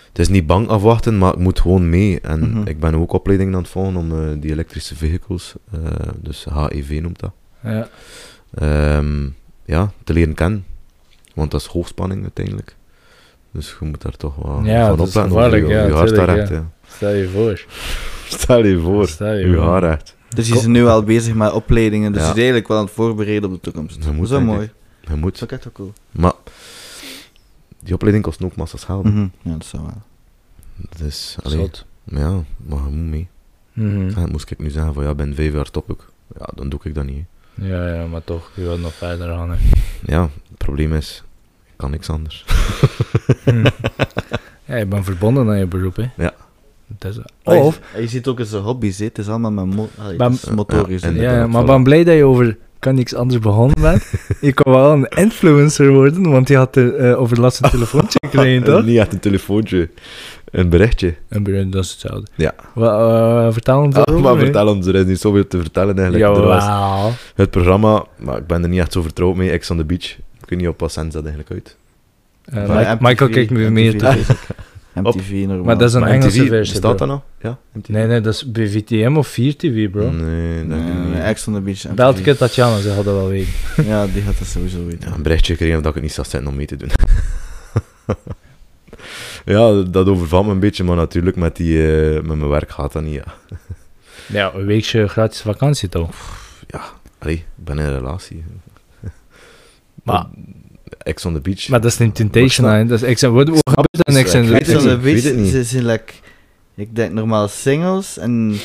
het is niet bang afwachten, maar ik moet gewoon mee. En Mhm. ik ben ook opleidingen aan het volgen om eh, die elektrische vehicles, eh, dus HEV noemt dat, Ja, ehm, ja, te leren kennen. Want dat is hoogspanning uiteindelijk. Dus je moet daar toch wel Ja, van dat is opletten. hoe je- gevaarlijk, hoe je ja, hart daar tuurlijk, hebt, ja. ja. stel je voor. Stel je voor, Stel je je voor. haar echt. Dus je is nu al bezig met opleidingen. Dus Ja. je is eigenlijk wel aan het voorbereiden op de toekomst. Dat moet, Dat is wel denk ik. mooi. Je Dat moet is ook echt wel cool. Maar die opleiding kost ook massa's geld. Mhm. Ja, dat zou wel. Dat is, allee, Mm. Zot. ja, maar je moet mee. Mhm. En dat moest ik nu zeggen van ja, ben vijf jaar top ik. Ja, dan doe ik dat niet. hè. Ja, ja, maar toch, je wilt nog verder gaan. hè. Ja, het probleem is, ik kan niks anders. Mhm. ja, je bent verbonden aan je beroep, hè? Ja. Dat is, Maar je- of, je, ziet ook eens de hobby's, hè. het is allemaal met mo- allee, Maar- het is motorisch. Ja, hè. en- ja, inderdaad, maar voilà. ik ben blij dat je over kan niks anders begonnen met. Je kan wel een influencer worden, want die had de, eh, over de laatste telefoontje gekregen, toch? Niet echt een telefoontje, een berichtje. En Brian, dat is hetzelfde. Ja. Wa- eh, vertel ons Ah, erover, maar hè. vertel ons, er is niet zoveel te vertellen eigenlijk. Er was Jawel. het programma, maar ik ben er niet echt zo vertrouwd mee, X on the Beach. Ik weet niet op wat zend dat eigenlijk uit. Eh, Mike- Michael kijkt me meer toe. MTV normaal. Maar dat is een Maar Engelse MTV, versie, Bestaat dat bro. nog? Ja, MTV? Nee, nee, dat is BVTM of 4TV, bro. Nee, dat Nee, kan nee, niet. Ex on the Beach. MTV. Belt kut Tatjana, ze hadden wel weten. Ja, die had dat sowieso weten. Ja, een berichtje gekregen dat ik het niet zou zetten om mee te doen. ja, dat overvalt me een beetje, maar natuurlijk met, die, eh, met mijn werk gaat dat niet. Ja. Ja, een weekje gratis vakantie toch? Allee, ik ben in een relatie. Eh, Maar, Ex on the beach. maar dat is niet Temptation Maar Island, dat is Ex Wat wat gebeurt er het niks in eigenlijk Ex weet on de niet, the ik weet het Beach niet. ze zijn like, ik denk normaal singles en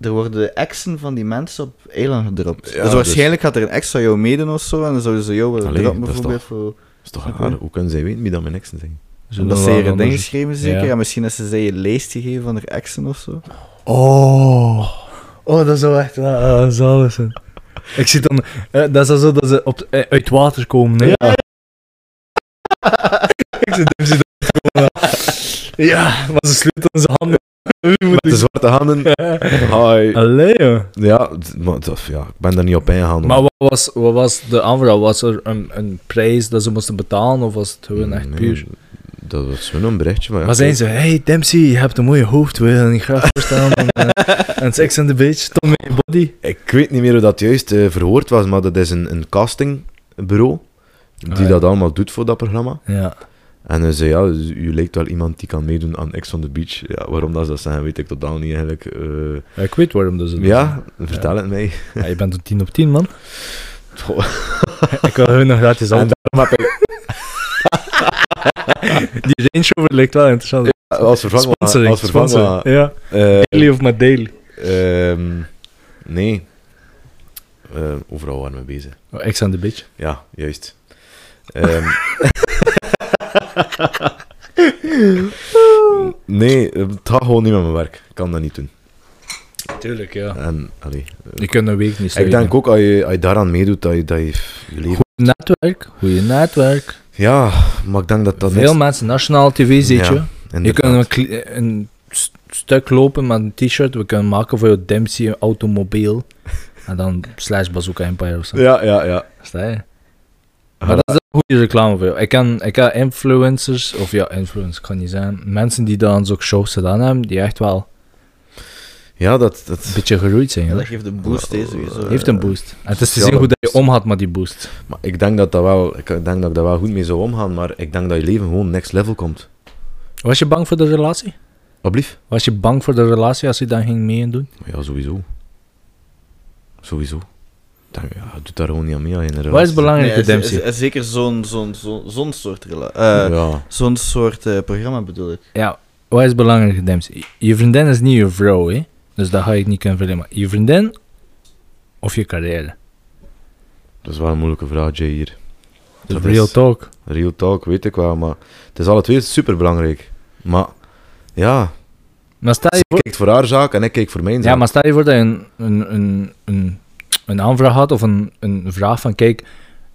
er worden exen van die mensen op eiland gedropt. Ja, dus waarschijnlijk had er een ex van jou meedoen of zo en dan zouden ze jou willen Allee, droppen dat is bijvoorbeeld. Voor, is toch raar? Hoe kunnen zij weten wie dat mijn exen zijn? Ze omdat doen ze wel hier een ding anders. geschreven zeker. Ja. Ja. misschien is ze zij een lijst gegeven van haar exen of zo. Oh. Oh, dat zou echt uh, zalig zijn. Ik zie dan... eh, dat is dan zo dat ze op, eh, uit water komen, hè? Ja. Ik zit ik zit echt gewoon, eh, Ja, maar ze sluiten onze handen. Met de zwarte handen. Hi. Allee, joh. Ja, d- maar, dat- ja, ik ben daar niet op ingegaan. Maar wat was, wat was de aanvraag? Was er een, een prijs dat ze moesten betalen, of was het gewoon echt Mm, Nee, puur... Dat was zo'n een berichtje. Maar, ja, Maar zijn ze, hey Dempsey, je hebt een mooie hoofd, wil je dat niet graag voorstellen? en, eh, en Sex on the Beach, Tom in je body. Ik weet niet meer hoe dat juist eh, verhoord was, maar dat is een, een castingbureau die Ah, ja. dat allemaal doet voor dat programma. Ja. En hij zei, ja, dus u lijkt wel iemand die kan meedoen aan X on the Beach. Ja, waarom dat ze dat zeggen, weet ik totaal niet eigenlijk. Eh, ik weet waarom dat ze dat ja, vertel het mij. doen. Ja, je bent een 10 op 10, man. Goh. ik wil hun nog gratis aan. En daarom heb ik Die Range Rover lijkt wel interessant. als vervanging... Sponsoring, Als vervanging... sponsor. Ja. eh, Daily of my daily. ehm, nee. Eh, overal waren we bezig. Oh, X on the Beach. Ja, juist. Ehm. nee, het gaat gewoon niet met mijn werk. Ik kan dat niet doen. Tuurlijk, ja. En, allee, Je kunt een week niet ik denk ook, als je, als je daaraan meedoet, dat je, dat je je leven... Goeie netwerk, goeie netwerk. Ja, maar ik denk dat dat... Veel niks- mensen, nationaal tv zit Ja, je. Je inderdaad. kunt een, kle- een st- stuk lopen met een t-shirt. We kunnen maken voor je Dempsey automobiel. En dan slash Bazooka Empire of zo. Ja, ja, ja. Sta je? Maar dat is een goede reclame voor jou. Ik ken, ik ken influencers, of ja, influencers kan niet zijn. Mensen die dan zo'n shows gedaan hebben, die echt wel Ja, dat... een dat... beetje geroeid zijn. Ja, eh, hoor. dat geeft een boost deze weer. zo. Heeft een boost. En het is te sociale zien hoe dat je boost. omgaat met die boost. Maar ik denk dat, dat wel, ik denk dat ik daar wel goed mee zou omgaan, maar ik denk dat je leven gewoon next level komt. Was je bang voor de relatie? Alblief? Was je bang voor de relatie als je dan ging meedoen? Ja, sowieso. Sowieso. Ik Denk, ja, doet daar gewoon niet aan mee als je in een Wat is relatie belangrijk, Nee, de is- is- Dempsey? is zeker zo'n zo'n zo'n zo'n soort, rela- zit. eh, Ja. zo'n soort eh, programma bedoel ik. Ja, wat is belangrijk, Dempsey? Je vriendin is niet je vrouw, hè? Dus dat ga ik niet kunnen verliezen. Je vriendin of je carrière? Dat is wel een moeilijke vraag, Jay, hier. Dat Dat is Dus real is- talk. Real talk, weet ik wel, maar het is alle twee superbelangrijk. Maar, ja, Maar stel je zij kijkt voor haar zaak en ik kijk voor mijn zaak. Ja, maar stel je voor dat je een, een, een, een, een aanvraag had of een, een vraag van kijk,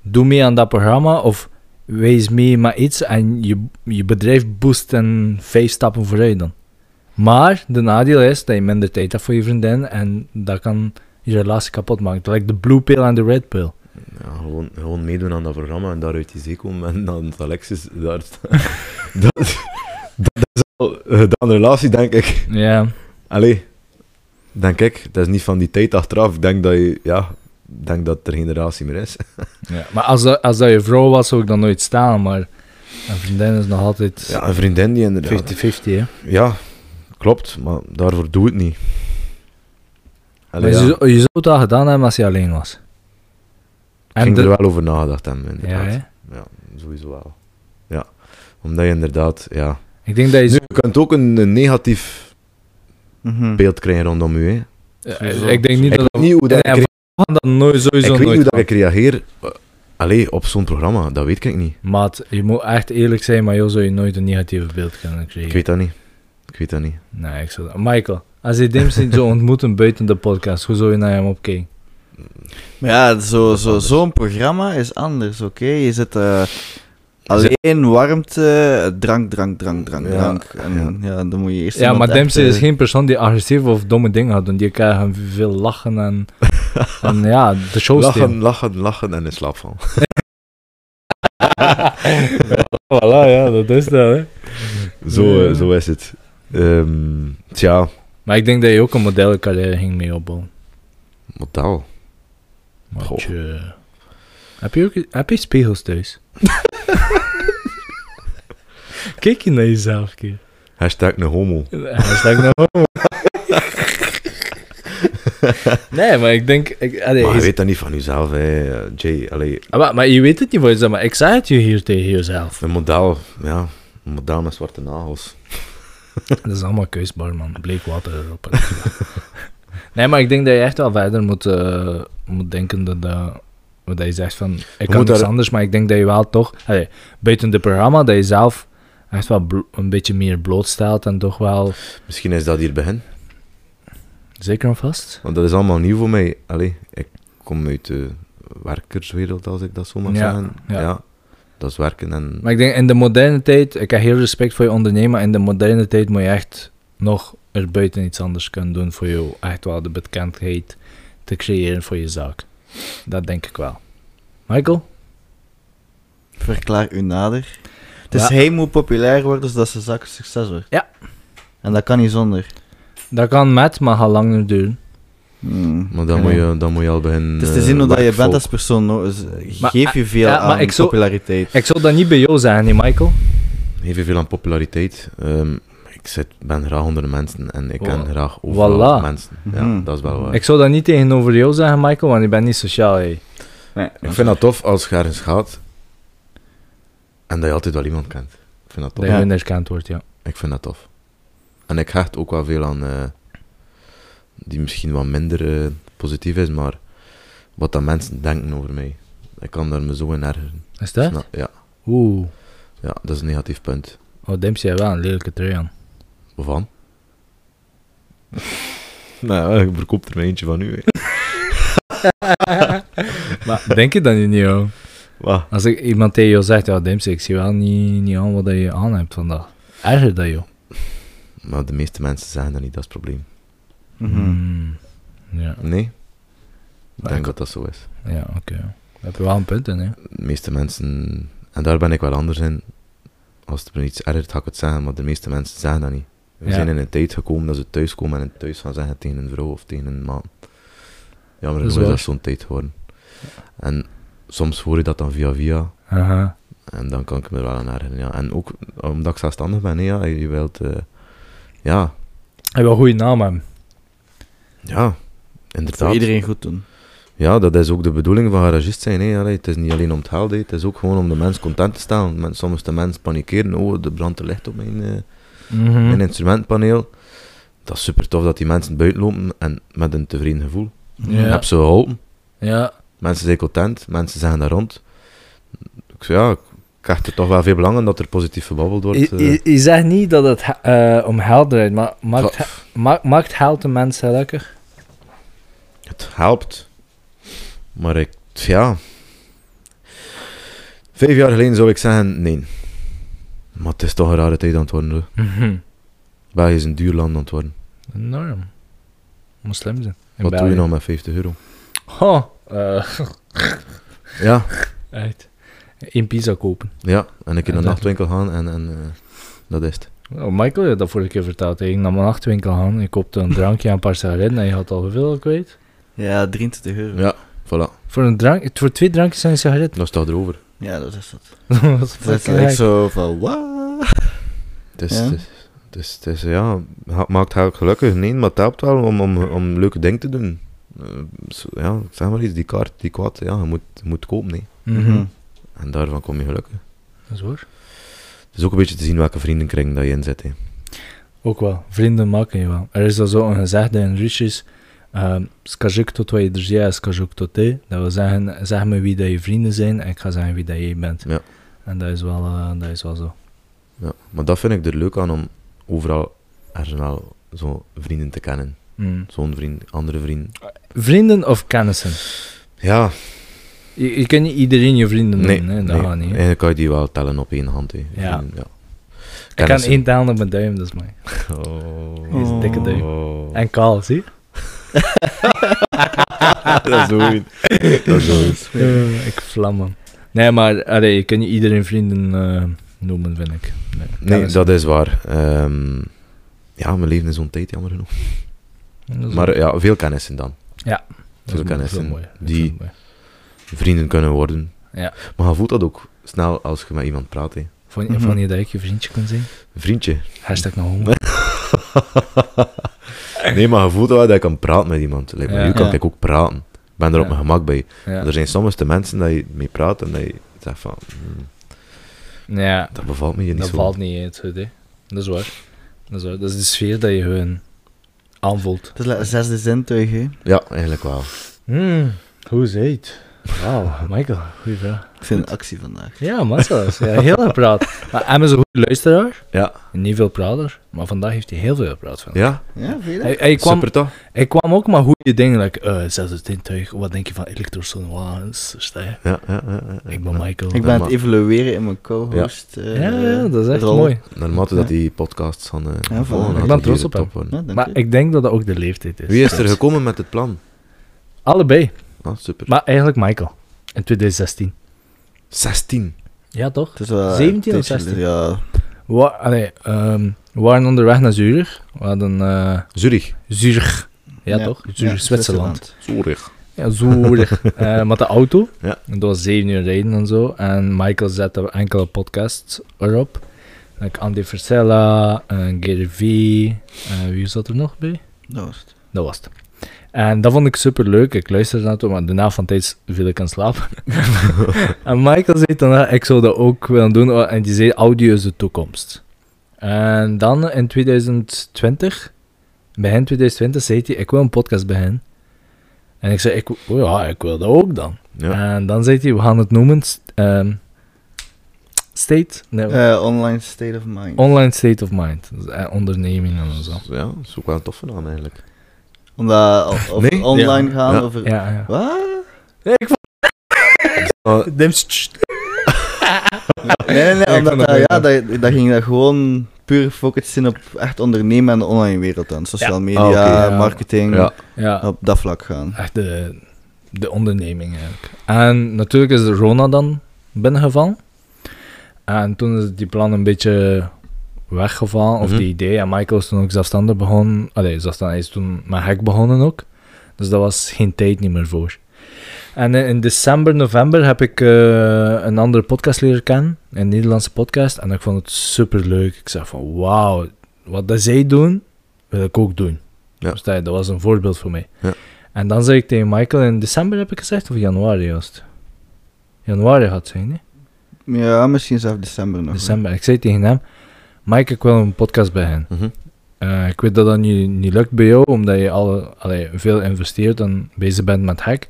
doe mee aan dat programma of wees mee met iets en je, je bedrijf boost en vijf stappen vooruit dan. Maar de nadeel is dat je minder tijd hebt voor je vriendin en dat kan je relatie kapot maken. Like de blue pill en de red pill. Ja, gewoon, gewoon meedoen aan dat programma en daaruit die zee komen en dan dat Alexis daar staat. dat, dat is eh, al gedaan relatie, denk ik. Ja, Allee, denk ik. Dat is niet van die tijd achteraf. Ik denk dat je, ja, ik denk dat er geen relatie meer is. ja. maar als dat, als dat je vrouw was, zou ik dan nooit staan, maar een vriendin is nog altijd 50-50, Ja, een vriendin die inderdaad... hè. Ja, klopt, maar daarvoor doe ik het niet. Maar Allee, je, ja, zou- je zou het al gedaan hebben als je alleen was. ik ging er wel over nagedacht hebben, Ja, inderdaad. hè? Ja, sowieso wel. Ja, omdat je inderdaad, ja... ik denk dat je Nu, je kunt ook een, een negatief Mhm. beeld krijgen rondom je, hè. Ja, Sowieso. eh, ik denk niet Ik dat weet niet hoe dat Nee, ik we gaan dat nooit sowieso Ik weet niet nooit hoe dat gaan. ik reageer eh, allee, op zo'n programma, dat weet ik niet. Maat, je moet echt eerlijk zijn, maar joh, zou je nooit een negatief beeld kunnen krijgen. Ik weet dat niet. Ik weet dat niet. Nee, ik zou dat... Michael, als je Dempsey zou ontmoeten buiten de podcast, hoe zou je naar hem opkijken? Maar ja, zo'n zo, anders. zo'n programma is anders, oké? Je zit eh, alleen warmte, drank, drank, drank, drank, Ja, drank. En ja, dan moet je eerst... Ja, iemand maar Dempsey echt, is eh, geen persoon die agressief of domme dingen gaat doen. Die krijgen veel lachen en, en ja, de show Lachen, lachen, lachen en in slaap vallen. voilà, ja, dat is dat, hè. Zo, eh, Ja. zo is het. Ehm, tja, Maar ik denk dat je ook een modellencarrière ging mee opbouwen. model. Maar Goh. tje. Heb je ook heb je spiegels thuis? Kijk je naar jezelf, keer. Hashtag een homo. Hashtag nou homo. Nee, maar ik denk... Ik, allee, maar je is- weet dat niet van jezelf, hè, eh, Jay. Allee, Ah, maar, maar je weet het niet voor jezelf, maar ik zei het je hier tegen jezelf. een model, ja, een model met zwarte nagels. Dat is allemaal keusbaar, man. Bleek water erop. nee, maar ik denk dat je echt wel verder moet, eh, moet denken dat, dat, dat je zegt van... Ik kan moet niks daar- anders, maar ik denk dat je wel toch... Allee, buiten het programma, dat je zelf echt wel blo- een beetje meer blootstelt en toch wel... Misschien is dat hier begin, Zeker en vast. want dat is allemaal nieuw voor mij. Allee, ik kom uit de werkerswereld, als ik dat zo mag Ja, zeggen. ja. Ja. dat is werken en... Maar ik denk in de moderne tijd... Ik heb heel respect voor je ondernemen. In de moderne tijd moet je echt nog er buiten iets anders kunnen doen voor jou. Echt wel de bekendheid te creëren voor je zaak. Dat denk ik wel. Michael? Verklaar u nader. Het is Ja. hij moet populair worden zodat zijn zak een succes wordt. Ja. En dat kan niet zonder. Dat kan met, maar gaat langer duren. Hmm. Maar dan, Ja. moet je, dan moet je al beginnen... eh, Het is te zien hoe dat je bent als als... persoon. hoor. Dus Maar, ah, geef je veel ja, aan maar ik zou- populariteit. Ik zou dat niet bij jou zeggen, hè, Michael. Heel veel aan populariteit. Ehm, ik zit, ben graag onder de mensen en ik ken Oh. Wa- graag overal Voilà. mensen. Ja, Mhm. dat is wel waar. Ik zou dat niet tegenover jou zeggen, Michael, want je bent niet sociaal. Hey. Nee. Ik vind dat tof als je ergens gaat en dat je altijd wel iemand kent. Ik vind dat Dat tof. je Ja. minder erkend wordt, ja. Ik vind dat tof. En ik hecht ook wel veel aan eh, die misschien wat minder eh, positief is, maar wat dat mensen denken over mij. Ik kan daar me zo in ergeren. Is dat? Snap- Ja, Oeh. ja, dat is een negatief punt. Oh, Dempsey heeft wel een lelijke trui aan. Waarvan? nou, ik verkoop er maar eentje van u. hè. maar denk je dat nu niet, hoor? Wat? Als ik, iemand tegen jou zegt, ja, Dempsey, ik zie wel niet, niet aan wat dat je aan hebt vandaag. Erger dat, joh. Maar de meeste mensen zeggen dat niet, dat is het probleem. Mhm. Mm. Ja, Nee? Ik Maar denk ik- dat dat zo is. ja oké. Daar heb je wel een punt in, hè. de meeste mensen, en daar ben ik wel anders in. Als het me iets ergert, ga ik het zeggen, maar de meeste mensen zeggen dat niet. We Ja. zijn in een tijd gekomen dat ze thuis komen en het thuis gaan zeggen tegen een vrouw of tegen een man. Jammer Dat genoeg is is waar. dat zo'n tijd geworden. En soms hoor je dat dan via via, Aha. en dan kan ik me er wel aan ergeren. Ja. En ook omdat ik zelfstandig ben, hè, ja, je wilt... eh, ja, Hij wil een goede naam hebben. ja, Voor inderdaad. iedereen goed doen. Ja, dat is ook de bedoeling van garagist zijn. Hè. Allee, het is niet alleen om het geld, hè. het is ook gewoon om de mens content te stellen. Men, soms de mens panikeren, oh, er brandt er licht op mijn, eh, Mhm. mijn instrumentpaneel. Dat is super tof dat die mensen buiten lopen en met een tevreden gevoel. Ja. Ik heb ze geholpen, Ja. mensen zijn content, mensen zijn daar rond. Ik zeg, ja, ik krijg er toch wel veel belang in dat er positief gebabbeld wordt. Je, eh. je, je zegt niet dat het he- eh, om geld draait, maar maakt, Ga- he- ma- maakt geld de mens gelukkig? Het helpt. Maar ik, ja. Vijf jaar geleden zou ik zeggen, nee. Maar het is toch een rare tijd aan het worden. hoor. België is een duur land aan het worden. Mhm. Enorm. Moet slim zijn. In Wat doe je België. nou met 50 euro? Ho, eh, Ja, uit. Een pizza kopen. ja. En ik in de Uiteraard. nachtwinkel gaan en, en eh, dat is het. Oh, Michael had dat vorige keer verteld. Ik ging naar mijn nachtwinkel gaan. Ik koopte een drankje en een paar sigaretten. En je had al hoeveel kwijt? Ja, 23 euro. Ja, voilà. Voor, een drank, voor twee drankjes en een sigaret. Dat staat erover. Ja, dat is het. Wat Dat is fucking eigenlijk heck. zo van, wat? Het is, Ja. het is, het is, het is, ja, ha- maakt haar gelukkig. Nee, maar het helpt wel om, om, om leuke dingen te doen. Eh, zo- ja, ik zeg maar iets, die kaart, die kwad, ja, je moet, je moet kopen, nee. Mhm. En daarvan kom je gelukkig. Dat is waar. Het is ook een beetje te zien welke vriendenkring dat je in zit. Hè. Ook wel. Vrienden maken je wel. Er is al zo'n gezegde in Russisch. ehm скажи, кто твои друзья, я скажу, кто ты. Dat wil zeggen, zeg me wie dat je vrienden zijn en ik ga zeggen wie dat jij bent. Ja. En dat is, wel, eh, dat is wel zo. Ja. Maar dat vind ik er leuk aan om overal er snel zo vrienden te kennen. Mm. Zo'n vriend, andere vriend. Vrienden of kennissen? Ja, Je, je kunt niet iedereen je vrienden nee, noemen, hè? dat nee. gaat niet. hè. Eigenlijk kan je die wel tellen op één hand. hè. Ja. ja. Ik kan Kennissen. één tellen op mijn duim, dat is mij. Oh. Die is een dikke duim. Oh. En kaal, zie je? dat is zo goed. Dat is zo goed. Eh, ik vlam hem. Nee, maar allee, je kunt niet iedereen vrienden eh, noemen, vind ik. Nee, Nee, kennissen. dat is waar. Ehm, ja, mijn leven is ontijd, jammer genoeg. Dat is- Maar ja, veel kennissen dan. dat is veel kennissen mooi. Dat is die- wel mooi. Vrienden kunnen worden. Ja. Maar je voelt dat ook snel als je met iemand praat. Hè. Vond, Mhm. vond je dat ik je vriendje kon zijn? Vriendje. Hashtag nog honger. nee, maar je voelt wel dat je kan praten met iemand. Like, met Ja. u kan Ja. ik ook praten. Ik ben er op Ja. mijn gemak bij. Ja. Er zijn soms de mensen dat je mee praat en dat je zegt van... "Hmm, ja, dat bevalt me hier niet dat zo. valt niet in het goed, hè. Dat is waar. Dat is waar. Dat is de sfeer dat je hun aanvoelt. Het is like een zesde zintuig, hè. Ja, eigenlijk wel. Hmm, hoe zit Wauw, Michael, goeie vraag. Ik vind een actie vandaag. Ja, massa's. Ja, heel erg praat. Maar Em is een goede luisteraar. Ja. Niet veel prater, maar vandaag heeft hij heel veel gepraat van. Ja, Ja, vind je dat? Hij, hij, kwam, super toch? hij kwam ook maar goede dingen, like, eh zes het zintuig, wat denk je van elektrosonoans, versta je? Ja, ja, ja, ja, ja. Ik ben Michael. Ik ben aan het evalueren in mijn co-host. eh, ja, ja, dat is echt rol. mooi. Naarmate dat die podcasts gaan eh, Ja, voilà. volgen, Ik gaat ben het trots hier op hem. top worden. Ja, dank maar u. ik denk dat dat ook de leeftijd is. Wie is er gekomen met het plan? Allebei, Ah, super. maar eigenlijk Michael. In 2016. 16. Ja, toch? Het is wel een 17 of tijdje 16? geleden, Ja, Wa allee, ehm, we waren onderweg naar Zurich. We hadden eh Zurich. Zurich. Ja, toch? ja, Zurich, Zwitserland. Zurich. Ja, Zurich. Eh, met de auto. Ja. En dat was 7 uur rijden en zo. En Michael zette enkele podcasts erop. Like Andy Versella, en Gary V. eh, wie zat er nog bij? Dat was het. Dat was het. En dat vond ik super leuk. Ik luisterde naartoe, maar daarna van tijd viel ik in slaap. en Michael zei dan, eh, ik zou dat ook willen doen. oh, En die zei, audio is de toekomst. En dan in 2020, begin 2020, zei hij, ik wil een podcast beginnen. En ik zei, ik, oh ja, ik wil dat ook dan. Ja. En dan zei hij, we gaan het noemen st- ehm, State, nee, Eh, online state of mind. Online State of Mind. Dus, eh, onderneming en zo. ja, dat is ook wel een toffe naam eigenlijk. Omdat, of, of Nee? online gaan Ja. over... Ja, ja. Wat? Ik Ah, Nee, nee, nee, Ik vond omdat dat eh, leuk, ja, ja. dat, dat ging dat gewoon puur focus in op echt ondernemen en de online wereld dan. Social media, Ah, oké, ja. marketing, ja. ja. op dat vlak gaan. Echt de, de onderneming eigenlijk. En natuurlijk is de Rona dan binnengevallen. En toen is die plan een beetje weggevallen, of Mhm. die idee. En Michael is toen ook zelfstandig begonnen. Allee, zelfstandig hij is toen met hek begonnen ook. Dus daar was geen tijd niet meer voor. En in, in december, november heb ik eh, een andere podcast leren kennen. Een Nederlandse podcast. En ik vond het super leuk. Ik zei van, wauw, wat dat zij doen, wil ik ook doen. Ja. Dus dat, dat was een voorbeeld voor mij. Ja. En dan zei ik tegen Michael, in december heb ik gezegd, of januari juist? Januari had zijn, hè? Ja, misschien zelfs december nog. December. Ik zei tegen hem, Mike, ik wil een podcast bij hen. mhm. Eh, ik weet dat dat niet, niet lukt bij jou, omdat je al allee, veel investeert en bezig bent met hack.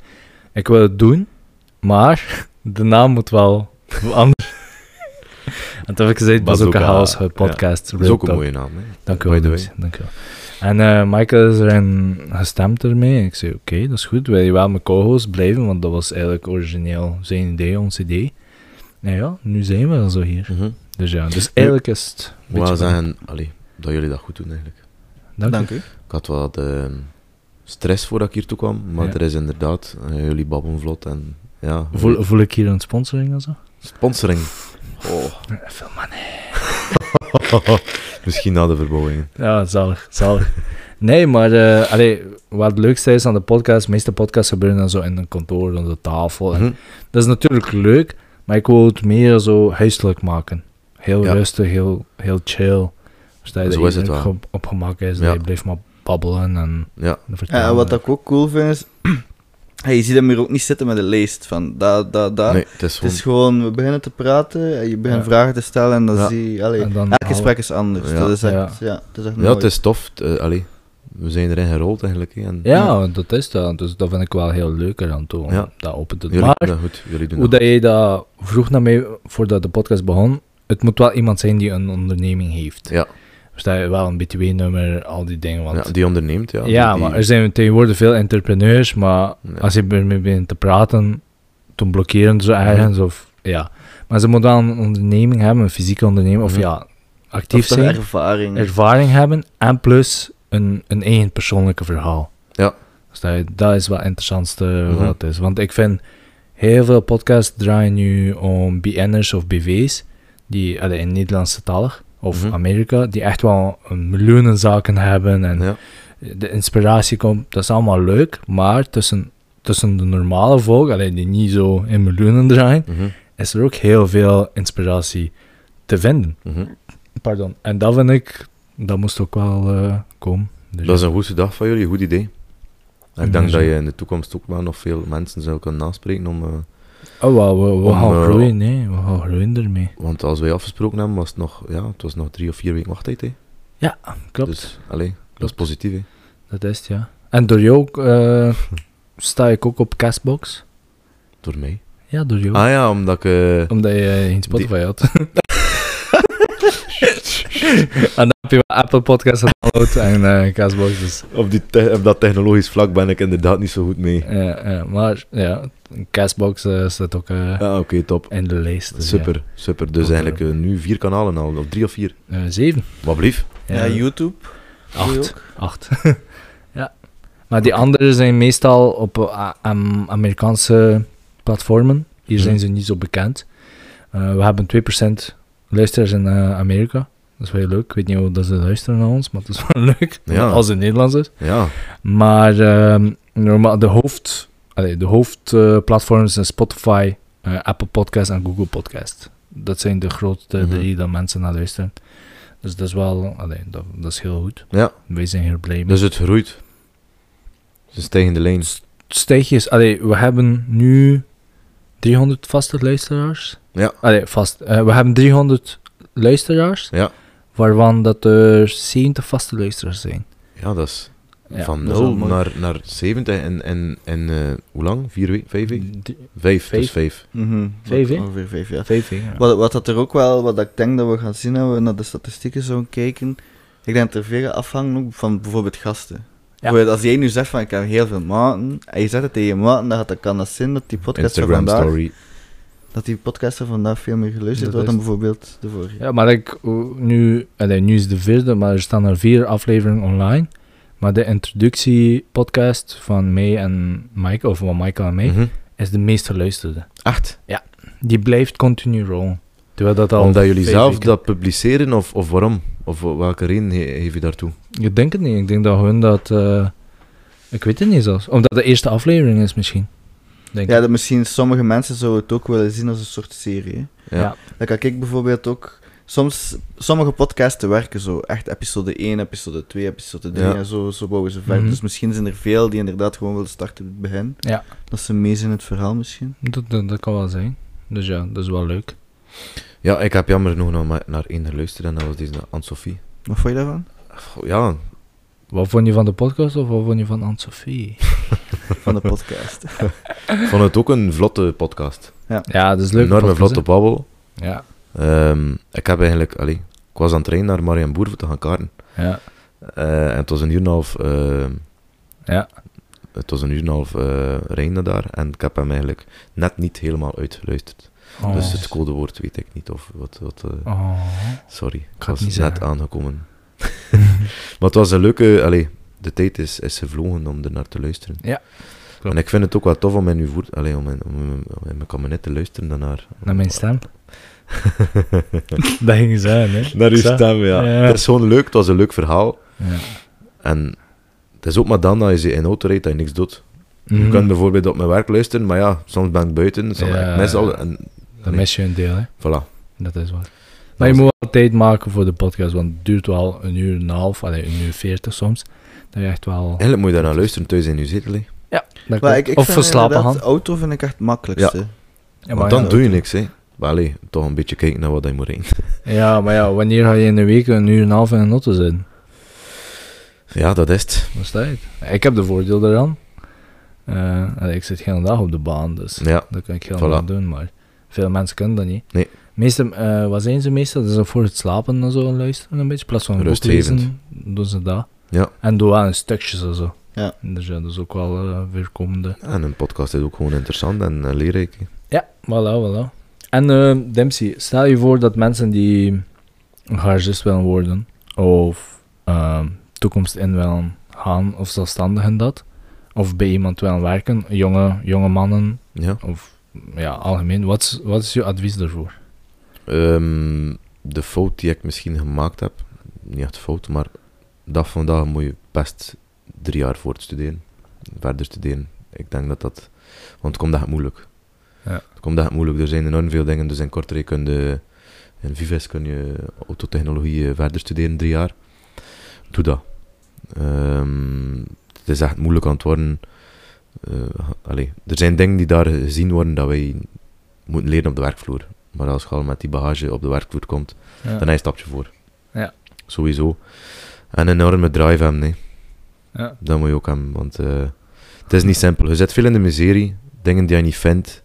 Ik wil het doen, maar de naam moet wel anders. en toen heb ik gezegd, Bazooka Bazooka, House podcast. Dat is Real ook een Talk. mooie naam. Hè. Dank u wel, By the Louis. Dank u wel. En eh, Michael is erin gestemd ermee. En ik zei, oké, dat is goed. Wij wel mijn co-host blijven, want dat was eigenlijk origineel zijn idee, ons idee. Nou ja, nu zijn we al zo hier. Mhm. Dus ja, dus eigenlijk is het... een Ik wil beetje- zeggen allee, dat jullie dat goed doen eigenlijk. Dank u. Dank u. Ik had wat ehm, stress voordat ik hier toe kwam, maar Ja. er is inderdaad, eh, jullie babbelen vlot en ja. Voel, voel ik hier een sponsoring en zo? Sponsoring. Oh. Veel money. Misschien na de verbouwingen. Ja, zalig, zalig. Nee, maar eh, allee, wat het leukste is aan de podcast, de meeste podcasts gebeuren dan zo in een kantoor, aan de tafel. En Mhm. Dat is natuurlijk leuk, maar ik wil het meer zo huiselijk maken. Heel Ja. rustig, heel, heel chill. Dus dat je Zo dat is het iedereen wel. op, op gemak is, Ja. dat je blijft maar babbelen en Ja. Ja, en Eh, wat ik ook cool vind is, hey, je ziet hem hier ook niet zitten met een lijst van da, da, Ah, da. Nee, het is Het is gewoon... gewoon, we beginnen te praten en je begint Ja. vragen te stellen en dan Ja. zie je, allee, En dan elk alle- gesprek is anders. Ja. Dat is echt, Ja. ja. dat is echt Ja, mooi. het is tof. t- eh, allee, we zijn erin gerold eigenlijk. hè, En Ja, dat is dat. Dus dat vind ik wel heel leuk eraan toe, om Ja. dat open te doen. jullie doen Maar, dat goed. Jullie doen hoe dat dat jij dat vroeg naar mij voordat de podcast begon, het moet wel iemand zijn die een onderneming heeft. Ja. Versta je wel een BTW-nummer, al die dingen. Want Ja, die onderneemt, ja. ja, Die- maar die- er zijn tegenwoordig veel entrepreneurs, maar Ja. als je ermee begint te praten, dan blokkeren ze ergens. Of, ja. Maar ze moeten wel een onderneming hebben, een fysieke onderneming, of Mhm. ja, Of actief toch zijn, Hm. ervaring. ervaring hebben en plus een, een eigen persoonlijke verhaal. Ja. Dus dat, dat is wel het interessantste Mhm. wat het is. Want ik vind heel veel podcasts draaien nu om BN'ers of BV's, die allee, in Nederlandse talig of Mhm. Amerika, die echt wel een miljoenen zaken hebben en ja. de inspiratie komt, dat is allemaal leuk, maar tussen, tussen de normale volk, allee, die niet zo in miljoenen draaien, Mhm, is er ook heel veel inspiratie te vinden. mhm. Pardon. En dat vind ik, dat moest ook wel eh, komen. Dus Dat is een goede dag van jullie, een goed idee. En Ja, ik denk zo. dat je in de toekomst ook wel nog veel mensen zou kunnen naspreken om... eh, Oh, wel, we, we Om, gaan eh, groeien, nee, we gaan groeien ermee. want als wij afgesproken hebben, was het nog, ja, het was nog drie of vier weken wachttijd, hè. Klopt, Dus, allee, dat Klopt. is positief, hè. dat is het, ja. En door jou ook, eh, sta ik ook op Castbox. Door mij. Ja, door jou. Ah ja, omdat ik... eh, Omdat je eh, geen Spotify had. en dan heb je wel Apple Podcasts gedownload en eh Castbox. Dus, op, die te- op dat technologisch vlak ben ik inderdaad niet zo goed mee. eh, eh, maar ja, Castbox eh, staat ook eh, Ah, oké, top. in de lijst. Dus, Super, super. Dus Oké. eigenlijk eh, nu vier kanalen al, of drie of vier. ja. Eh, zeven. Wat blief. Ja, YouTube. doe je acht. Acht. ja. Maar die anderen zijn meestal op eh, A- Am- Amerikaanse platformen. Hier Mhm. zijn ze niet zo bekend. Eh, we hebben 2% luisteraars in eh, Amerika. Dat is wel heel leuk. Ik weet niet hoe dat ze luisteren naar ons, maar het is wel leuk. Ja. Als het Nederlands is. Ja. Maar ehm, normaal, de hoofd, allee, de hoofdplatforms zijn Spotify, eh, Apple Podcast en Google Podcast. Dat zijn de grootste Mhm. drie dat mensen naar luisteren. Dus dat is wel, allee, dat, dat is heel goed. Ja. Wij zijn heel blij mee. Dus het groeit. Ze stijgen de lijn. Stijgjes, allee, we hebben nu 300 vaste luisteraars. Ja. Allee, vast. eh, we hebben 300 luisteraars, Ja. waarvan dat er 70 vaste luisteraars zijn. Ja, dat is Ja. van dat is wel 0 mooi. naar, naar 70 en, en, en eh, hoe lang? Vier weken? Vijf weken? D- Vijf, Vijf. dus vijf. Mhm, Vijf, hè? Ongeveer vijf, ja. Vijf, hè, ja. Wat, wat dat er ook wel, wat ik denk dat we gaan zien, als we naar de statistieken zo kijken, ik denk dat er veel afhangen ook van bijvoorbeeld gasten. Bijvoorbeeld Als jij nu zegt van ik heb heel veel maten, en je zegt het tegen je maten, dan gaat dat kan dat zijn dat die podcast van Instagram vandaag, story. dat die podcast van vandaag veel meer geluisterd Dat wordt dan is- bijvoorbeeld de vorige. Ja, maar ik, nu, allee, nu is de vierde, maar er staan er vier afleveringen online. Maar de introductiepodcast van mij en Michael, of van Michael en mij, Mhm. is de meest geluisterde. Echt? Die blijft continu rollen. Terwijl dat al Omdat jullie vijf zelf weken- dat publiceren of, of waarom? Of welke reden he- heeft je daartoe? Ik denk het niet. Ik denk dat hun dat... eh, ik weet het niet zelfs. Omdat de eerste aflevering is misschien. Denk Ja, ik. dat misschien sommige mensen zouden het ook willen zien als een soort serie. hè. Ja. Dat kan ik bijvoorbeeld ook. Soms, sommige podcasten werken zo. Echt episode 1, episode 2, episode 3 Ja. en zo, zo bouwen ze verder. Mhm. Dus misschien zijn er veel die inderdaad gewoon willen starten op het begin. Ja. Dat ze mee zijn in het verhaal misschien. Dat, dat, dat kan wel zijn. Dus ja, dat is wel leuk. Ja, ik heb jammer genoeg nog maar naar één geluisterd en dat was deze Anne-Sophie. Wat vond je daarvan? Goh, Ja, Wat vond je van de podcast of wat vond je van Anne-Sophie? Van de podcast. ik vond het ook een vlotte podcast. Ja, dat is Een leuk. enorme podcast, vlotte babbel. hè. Ja, Ehm, ik heb eigenlijk, allee, ik was aan het trainen naar Marian Boer voor te gaan kaarten. ja, Eh, en het was een uur en een half, ehm, ja. het was een uur en een half eh, rijden daar. En ik heb hem eigenlijk net niet helemaal uitgeluisterd. Oh. Dus het codewoord weet ik niet. Of wat, wat, eh, Oh. Sorry, ik het was net niet zeggen. aangekomen. maar het was een leuke, allee, de tijd is, is gevlogen om er naar te luisteren. Ja, klopt. En ik vind het ook wel tof om in uw voert, allee, om in, om, in- om in mijn kabinet te luisteren dan naar, Naar mijn stem. dat ging zijn, hè? naar uw Zo. stem. Ja. Ja. Het is gewoon leuk, het was een leuk verhaal. Ja. En het is ook maar dan dat je ze in auto rijdt dat je niks doet. Je Mhm. kunt bijvoorbeeld op mijn werk luisteren, maar ja, soms ben ik buiten, soms Ja. ik mis al. En, Dan mis je een deel, hè? voilà. Dat is waar. Maar Dat was- je moet wel tijd maken voor de podcast, want het duurt wel een uur en een half, allee, een uur veertig soms. Dat je echt wel... Eigenlijk moet je daar naar luisteren thuis in je zetel. hè. dat Maar klopt. ik, ik of vind verslapen inderdaad, gaan. Auto vind ik echt het makkelijkste. Ja, Want maar dan ja. doe je niks, hè. Maar allee, toch een beetje kijken naar wat je moet rijden. Ja, maar ja, wanneer ga je in een week een uur en een half in een auto zitten? Ja, dat is het. Dat is tijd. Ik heb de voordeel daaraan. Eh, allee, ik zit geen dag op de baan, dus Ja. dat kan ik heel Voilà. lang doen, maar... Veel mensen kunnen dat niet. Nee. Meestal, eh, wat zijn ze meestal? Dat is voor het slapen en zo luisteren een beetje. In plaats van een boek Rustgevend. lezen, doen ze dat. Ja. En doen wel in stukjes en zo. Ja. Dus ja, dat is ook wel eh, voorkomende. En een podcast is ook gewoon interessant en eh, leerrijk. hè. Ja, voilà, voilà. En eh, Dempsey, stel je voor dat mensen die een garagist willen worden, of ehm, toekomst in willen gaan, of zelfstandigen dat, of bij iemand willen werken, jonge, jonge mannen, Ja. of ja, algemeen, wat is, wat is je advies daarvoor? Ehm, de fout die ik misschien gemaakt heb, niet echt fout, maar dag van dag moet je best drie jaar voortstuderen, verder studeren. Ik denk dat dat, want het komt echt moeilijk. Ja. Het komt echt moeilijk, er zijn enorm veel dingen, dus in Kortrijk kun je, in Vives kun je autotechnologie eh, verder studeren, drie jaar. Doe dat. Ehm, het is echt moeilijk aan het worden. Eh, allee, er zijn dingen die daar gezien worden dat wij moeten leren op de werkvloer. Maar als je al met die bagage op de werkvloer komt, Ja. dan heb je een stapje voor. Ja. Sowieso. En een enorme drive hebben, nee. Ja. Dat moet je ook hebben, want eh, het is niet simpel. Je zit veel in de miserie, dingen die je niet vindt,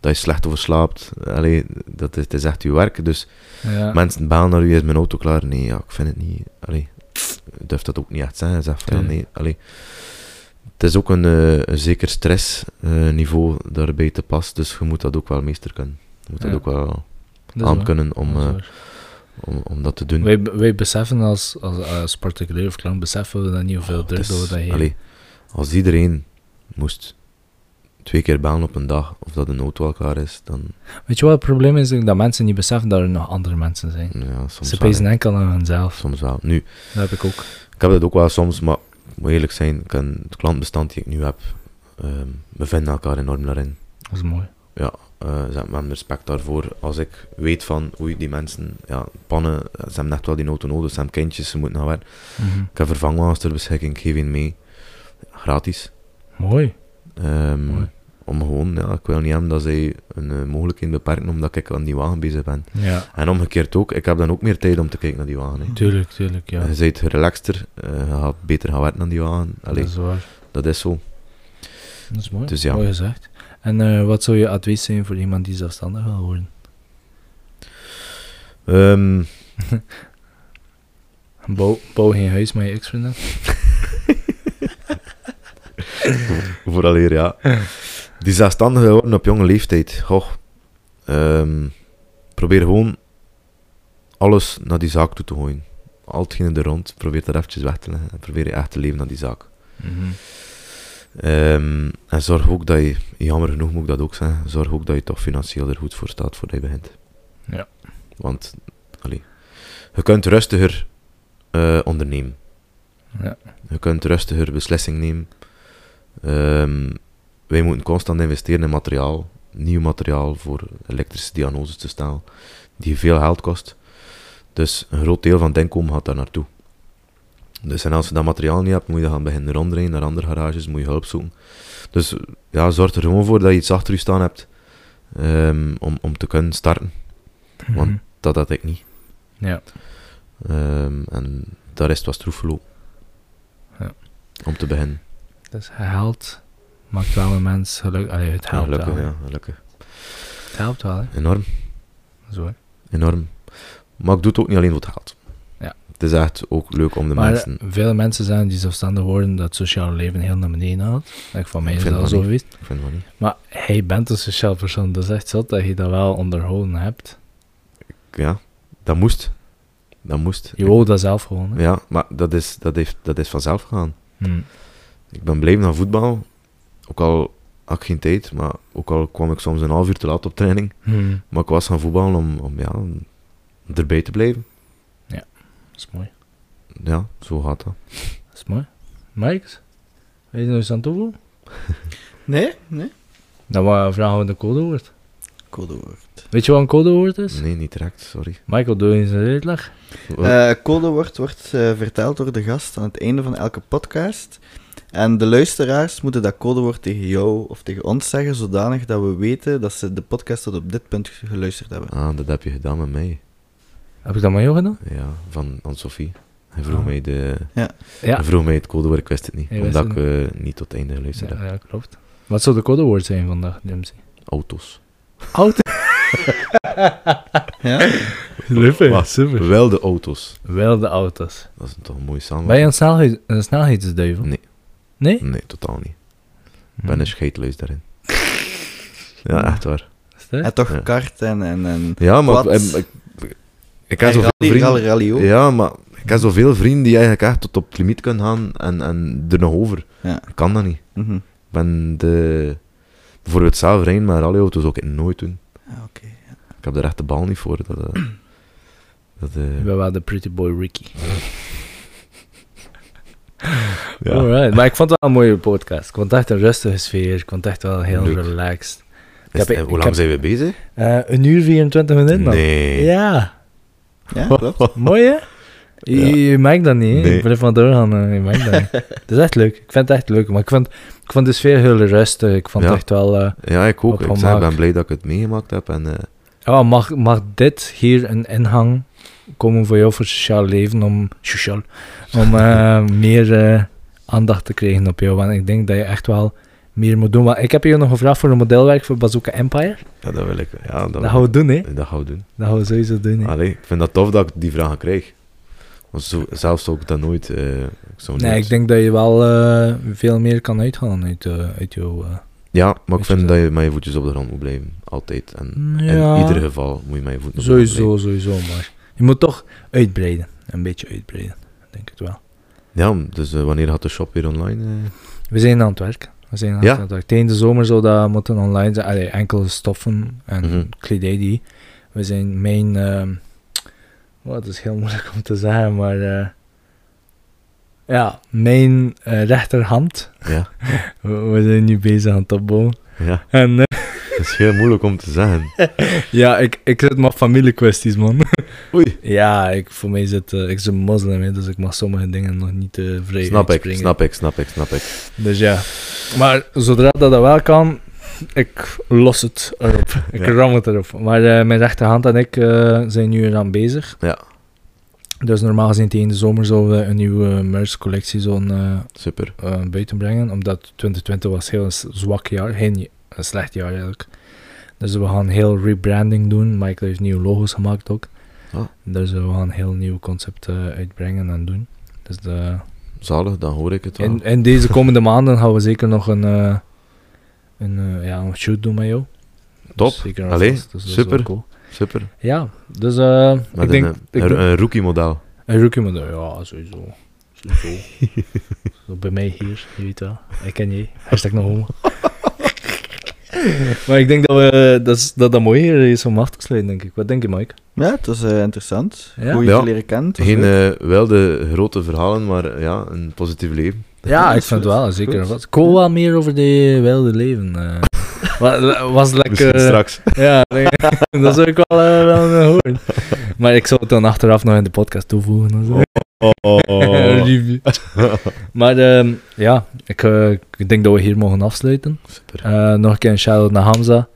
dat je slecht over slaapt. Allee, dat is, het is echt je werk, dus Ja. mensen bellen naar u, is mijn auto klaar? Nee, ja, ik vind het niet. Allee, je durft dat ook niet echt zeggen. Zeg van, ja, Tuurlijk. nee, allee. Het is ook een, eh, een zeker eh, stressniveau daarbij te pas, dus je moet dat ook wel meester kunnen. Je moet Ja. dat ook wel Dat is aan waar. kunnen om, Dat is eh, waar. om, om dat te doen. Wij, wij beseffen als, als, als particulier of klant, beseffen we dat niet hoeveel Oh, druk het dat we is- dat geven. allee, als iedereen moest twee keer bellen op een dag, of dat een auto al klaar is, dan... Weet je wat het probleem is? Dat mensen niet beseffen dat er nog andere mensen zijn. Ja, soms Ze wel. pezen hè. enkel aan hunzelf. Soms wel. Nu, Dat heb ik ook. Ik heb dat ook wel soms, maar ik moet eerlijk zijn, ik ken het klantbestand die ik nu heb, ehm, we vinden elkaar enorm daarin. Dat is mooi. Eh ze hebben respect daarvoor. Als ik weet van, oei, die mensen, ja, pannen, ze hebben echt wel die auto nodig, ze hebben kindjes, ze moeten naar werk. Mhm. Ik heb vervangwagens ter beschikking, ik geef een mee. Gratis. Mooi. Ehm, Mooi. om gewoon, ja, ik wil niet hebben dat zij een eh, mogelijkheid beperken omdat ik aan die wagen bezig ben. Ja, En omgekeerd ook, ik heb dan ook meer tijd om te kijken naar die wagen. hè. tuurlijk, tuurlijk. Ja, Je bent relaxter, eh, je gaat beter gaan werken aan die wagen. Allee, dat is waar. dat is zo. Dat is mooi. Dus ja. Mooi gezegd. En eh, wat zou je advies zijn voor iemand die zelfstandig wil worden? Ehm, Bouw, bouw geen huis met je ex-vriendin? vooral hier, ja. Die zelfstandigen worden op jonge leeftijd. Goh. Ehm, probeer gewoon alles naar die zaak toe te gooien. Al hetgene er rond, probeer dat eventjes weg te leggen. En probeer je echt te leven naar die zaak. Mhm. Ehm, en zorg ook dat je, jammer genoeg moet ik dat ook zeggen, zorg ook dat je toch financieel er goed voor staat voordat je begint. Ja. Want, allee, je kunt rustiger eh, ondernemen. Ja. Je kunt rustiger beslissing nemen. Ehm, wij moeten constant investeren in materiaal, nieuw materiaal voor elektrische diagnoses te stellen, die veel geld kost. Dus een groot deel van het inkomen gaat daar naartoe. Dus en als je dat materiaal niet hebt, moet je dan gaan beginnen rondrijden naar andere garages, moet je hulp zoeken. Dus eh, ja, zorg er gewoon voor dat je iets achter je staan hebt ehm, om, om te kunnen starten. Want- Mhm. Dat had ik niet. Ja. Ehm, en de rest was troef gelopen. Ja. Om te beginnen. Dus geld maakt wel een mens gelukkig. Allee, het helpt gelukkig, wel. ja, gelukkig. Het helpt wel, hè. Enorm, Dat is waar. enorm. Maar ik doe het ook niet alleen voor het geld. Ja. Het is echt ook leuk om de maar mensen... eh, veel mensen zijn die zelfstandig worden dat het sociale leven heel naar beneden haalt. Like, van mij Ik is vind dat dat al zo niet. geweest. Ik vind het wel niet. Maar hij bent een sociaal persoon, dat is echt zot dat je dat wel onderhouden hebt. Ja, dat moest. Dat moest. Je wou dat zelf gewoon. Hè? Ja, maar dat is, dat, heeft, dat is vanzelf gegaan. Hm. Ik ben blijven naar voetbal. Ook al had ik geen tijd, maar ook al kwam ik soms een half uur te laat op training. Hm. Maar ik was gaan voetballen om, om, ja, om erbij te blijven. Dat is mooi. Ja, zo gaat dat. Dat is mooi. Mike, weet je nog eens aan het toevoegen? Nee? Nee? Dan wou- vragen we de codewoord. Codewoord. Weet je wat een codewoord is? Nee, niet direct, sorry. Michael, doe eens een uitleg. Eh codewoord wordt eh, verteld door de gast aan het einde van elke podcast. En de luisteraars moeten dat codewoord tegen jou of tegen ons zeggen, zodanig dat we weten dat ze de podcast tot op dit punt geluisterd hebben. ah, dat heb je gedaan met mij. Heb ik dat met jou gedaan? Ja, van Anne-Sophie. Hij vroeg, Ah. mij de, Ja. Ja. hij vroeg mij het codewoord, ik wist het niet. Hij wist omdat ik het eh, niet tot het einde geluisterd Ja, heb. ja, klopt. Wat zou de codewoord zijn vandaag, Dempsey? Auto's. Auto. Ja? Super, Wat? super. Wel de auto's. Wel de auto's. Dat is toch een mooie Ben je samenwerking. een, snelheid, een snelheidsduivel? Hm. Nee. Nee? Nee, totaal niet. Ik Mhm. ben een scheetleus daarin. Ja, echt waar. Is dat? En toch Ja. kart en... en, en Ja, maar Wat? ik, ik, ik- ik heb en zoveel rally, vrienden... rally, rally ook. Ja, maar ik heb zoveel vrienden die eigenlijk echt tot op het limiet kunnen gaan en, en er nog over. Ja. Ik kan dat niet. Mhm. Ik ben de... Bijvoorbeeld zelf rijden met rallyauto's ook nooit doen. Ah, oké. Ik heb er echt de bal niet voor. Dat, eh, dat, eh, Ik ben wel de pretty boy Ricky. ja. Alright. Maar ik vond het wel een mooie podcast. Ik vond het echt een rustige sfeer. Ik vond het echt wel heel Leuk. relaxed. Is- heb- eh, ik hoe lang heb- zijn we bezig? Eh, een uur 24 minuten, man. Nee. Ja, Ja, klopt. mooi hè? Je, Ja. je merkt dat niet, hè? Nee. Ik blijf maar doorgaan, eh, je merkt dat niet. Het is echt leuk. Ik vind het echt leuk. Maar ik vond, ik vond de sfeer heel rustig. Ik vond Ja. het echt wel... eh, Ja, ik Op ook. Ik, zeg, ik gemak. ben blij dat ik het meegemaakt heb. En, eh, Ja, mag, mag dit hier een ingang komen voor jou voor sociaal leven om, sociaal, om eh, meer eh, aandacht te krijgen op jou? Want ik denk dat je echt wel meer moet doen. Want ik heb je nog gevraagd voor een modelwerk voor Bazooka Empire. ja, dat wil ik. Ja, dat, Dat gaan we doen, hè? dat gaan we doen. Dat gaan we sowieso doen, hè? Allee, ik vind Ah, dat tof dat ik die vragen krijg. Want zo, zelfs zou ik dat nooit... eh, ik zou Nee, nooit- ik denk dat je wel eh, veel meer kan uithalen uit, eh, uit jouw... eh, Ja, maar ik Weet je vind zo. dat je met je voetjes op de grond moet blijven. Altijd. En ja, in ieder geval moet je met je voeten op de grond Sowieso, sowieso, maar je moet toch uitbreiden. Een beetje uitbreiden, ik denk het wel. blijven. Ja, dus eh, wanneer gaat de shop weer online? eh? We zijn aan het werk. We zijn aan Ja? het werk. Tegen de zomer zou dat moeten online zijn. Allee, enkele stoffen en Mhm. kledij die. We zijn mijn... ehm wat is heel moeilijk om te zeggen, maar... eh, ja, mijn eh, rechterhand. Ja. We, we zijn nu bezig aan het opbouwen. ja, En eh, dat is heel moeilijk om te zeggen. ja, ik, ik zit maar familiekwesties, man. Oei. ja, ik, voor mij zit... eh, ik ben moslim, hè, dus ik mag sommige dingen nog niet eh vrij Snap ik, uitspringen. snap ik, snap ik, snap ik. Dus ja. Maar zodra dat, dat wel kan, ik los het erop. Ik Ja. ram het erop. Maar eh, mijn rechterhand en ik eh, zijn nu eraan bezig. Ja. Dus normaal gezien tegen de zomer zullen we een nieuwe merch-collectie zo'n eh, Super. eh, buiten brengen. Omdat 2020 was heel s- zwak jaar. Geen j- een slecht jaar eigenlijk. Dus we gaan heel rebranding doen. Michael heeft nieuwe logo's gemaakt ook. Ah. Dus we gaan een heel nieuw concept eh, uitbrengen en doen. Dus de, Zalig, dan hoor ik het wel. in, in deze komende maanden gaan we zeker nog een, eh, een, eh, ja, een shoot doen met jou. Top. Zeker en Allee, vast, dus dat is super. wel cool. Super. Ja, dus eh, Met ik denk... een, eh, ik een, denk- een rookie model. een rookie model, ja, sowieso. Sowieso. Zo bij mij hier, je weet wel. Ik ken jij. Hashtag nog homo. maar ik denk dat we, dat, is- dat dat mooi hier is om af te sluiten, denk ik. Wat denk je, Mike? Ja, het was eh, interessant. Ja? Goed je Ja. te leren kennen. het was Geen leuk. eh, wilde grote verhalen, maar eh, ja, een positief leven. Ja, ik is vind het goed. wel, zeker. en Goed. vast. Ik hoor wel meer over de wilde leven. eh. Wa- was Misschien lekker... straks. Ja, nee, dat zou ik wel, eh, wel eh, horen. Maar ik zal het dan achteraf nog in de podcast toevoegen. of zo. Oh, oh, oh. Review. maar ehm, ja, ik, eh, ik denk dat we hier mogen afsluiten. Super. Eh, nog een keer een shout-out naar Hamza.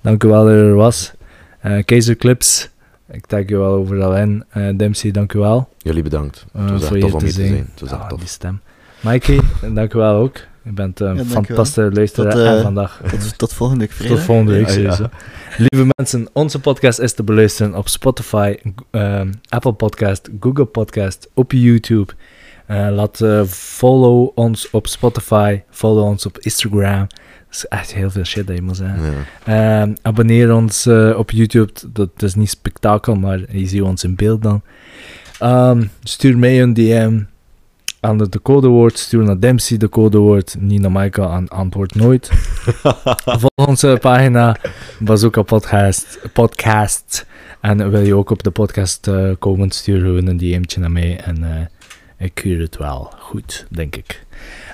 Dank u wel dat je er was. Eh Keizer Clips, ik tag je wel overal in. Eh Dempsey, dank u wel Jullie bedankt. eh, Het was voor echt je tof om te hier te zijn. zijn. Het was echt Ah, tof. die stem. Mikey, dank u wel ook. Je bent een Ja, dank u wel. fantastische luisteraar Tot, eh, en vandaag. Tot, tot volgende week vrijdag. Tot volgende week Ja, ja. sowieso. Lieve mensen, onze podcast is te beluisteren op Spotify, Go- ehm, Apple Podcast, Google Podcast, op YouTube. Eh, laat eh, follow ons op Spotify, follow ons op Instagram. Dat is echt heel veel shit dat je moet zeggen. Ja. Ehm, abonneer ons eh, op YouTube. T- Dat is niet spektakel, maar je ziet ons in beeld dan. Ehm, stuur mij een DM aan het codewoord. Stuur naar Dempsey de codewoord. Niet naar Michael aan antwoord nooit. Volg onze pagina Bazooka Podcast. podcast. En wil je ook op de podcast eh, komen, stuur gewoon een DM'tje naar mij. En eh, ik keur het wel goed, denk ik.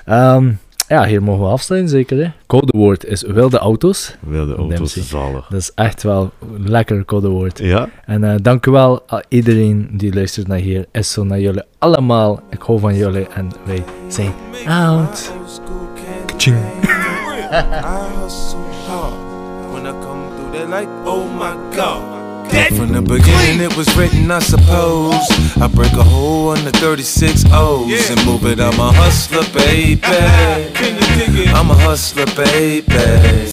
Ehm, ja, hier mogen we afsluiten, zeker. hè? Codewoord is wilde auto's. Wilde auto's Dempsey. zalig. Dat is echt wel een lekker codewoord. Ja? En eh dank u wel aan iedereen die luistert naar hier. Is zo naar jullie allemaal. Ik hou van jullie en wij zijn out. Ka-ching. I hustle hard when I come through. They like, oh my god. But From the beginning, it was written, I suppose. I break a hole under 36 O's and move it. I'm a hustler, baby. I'm a hustler, baby.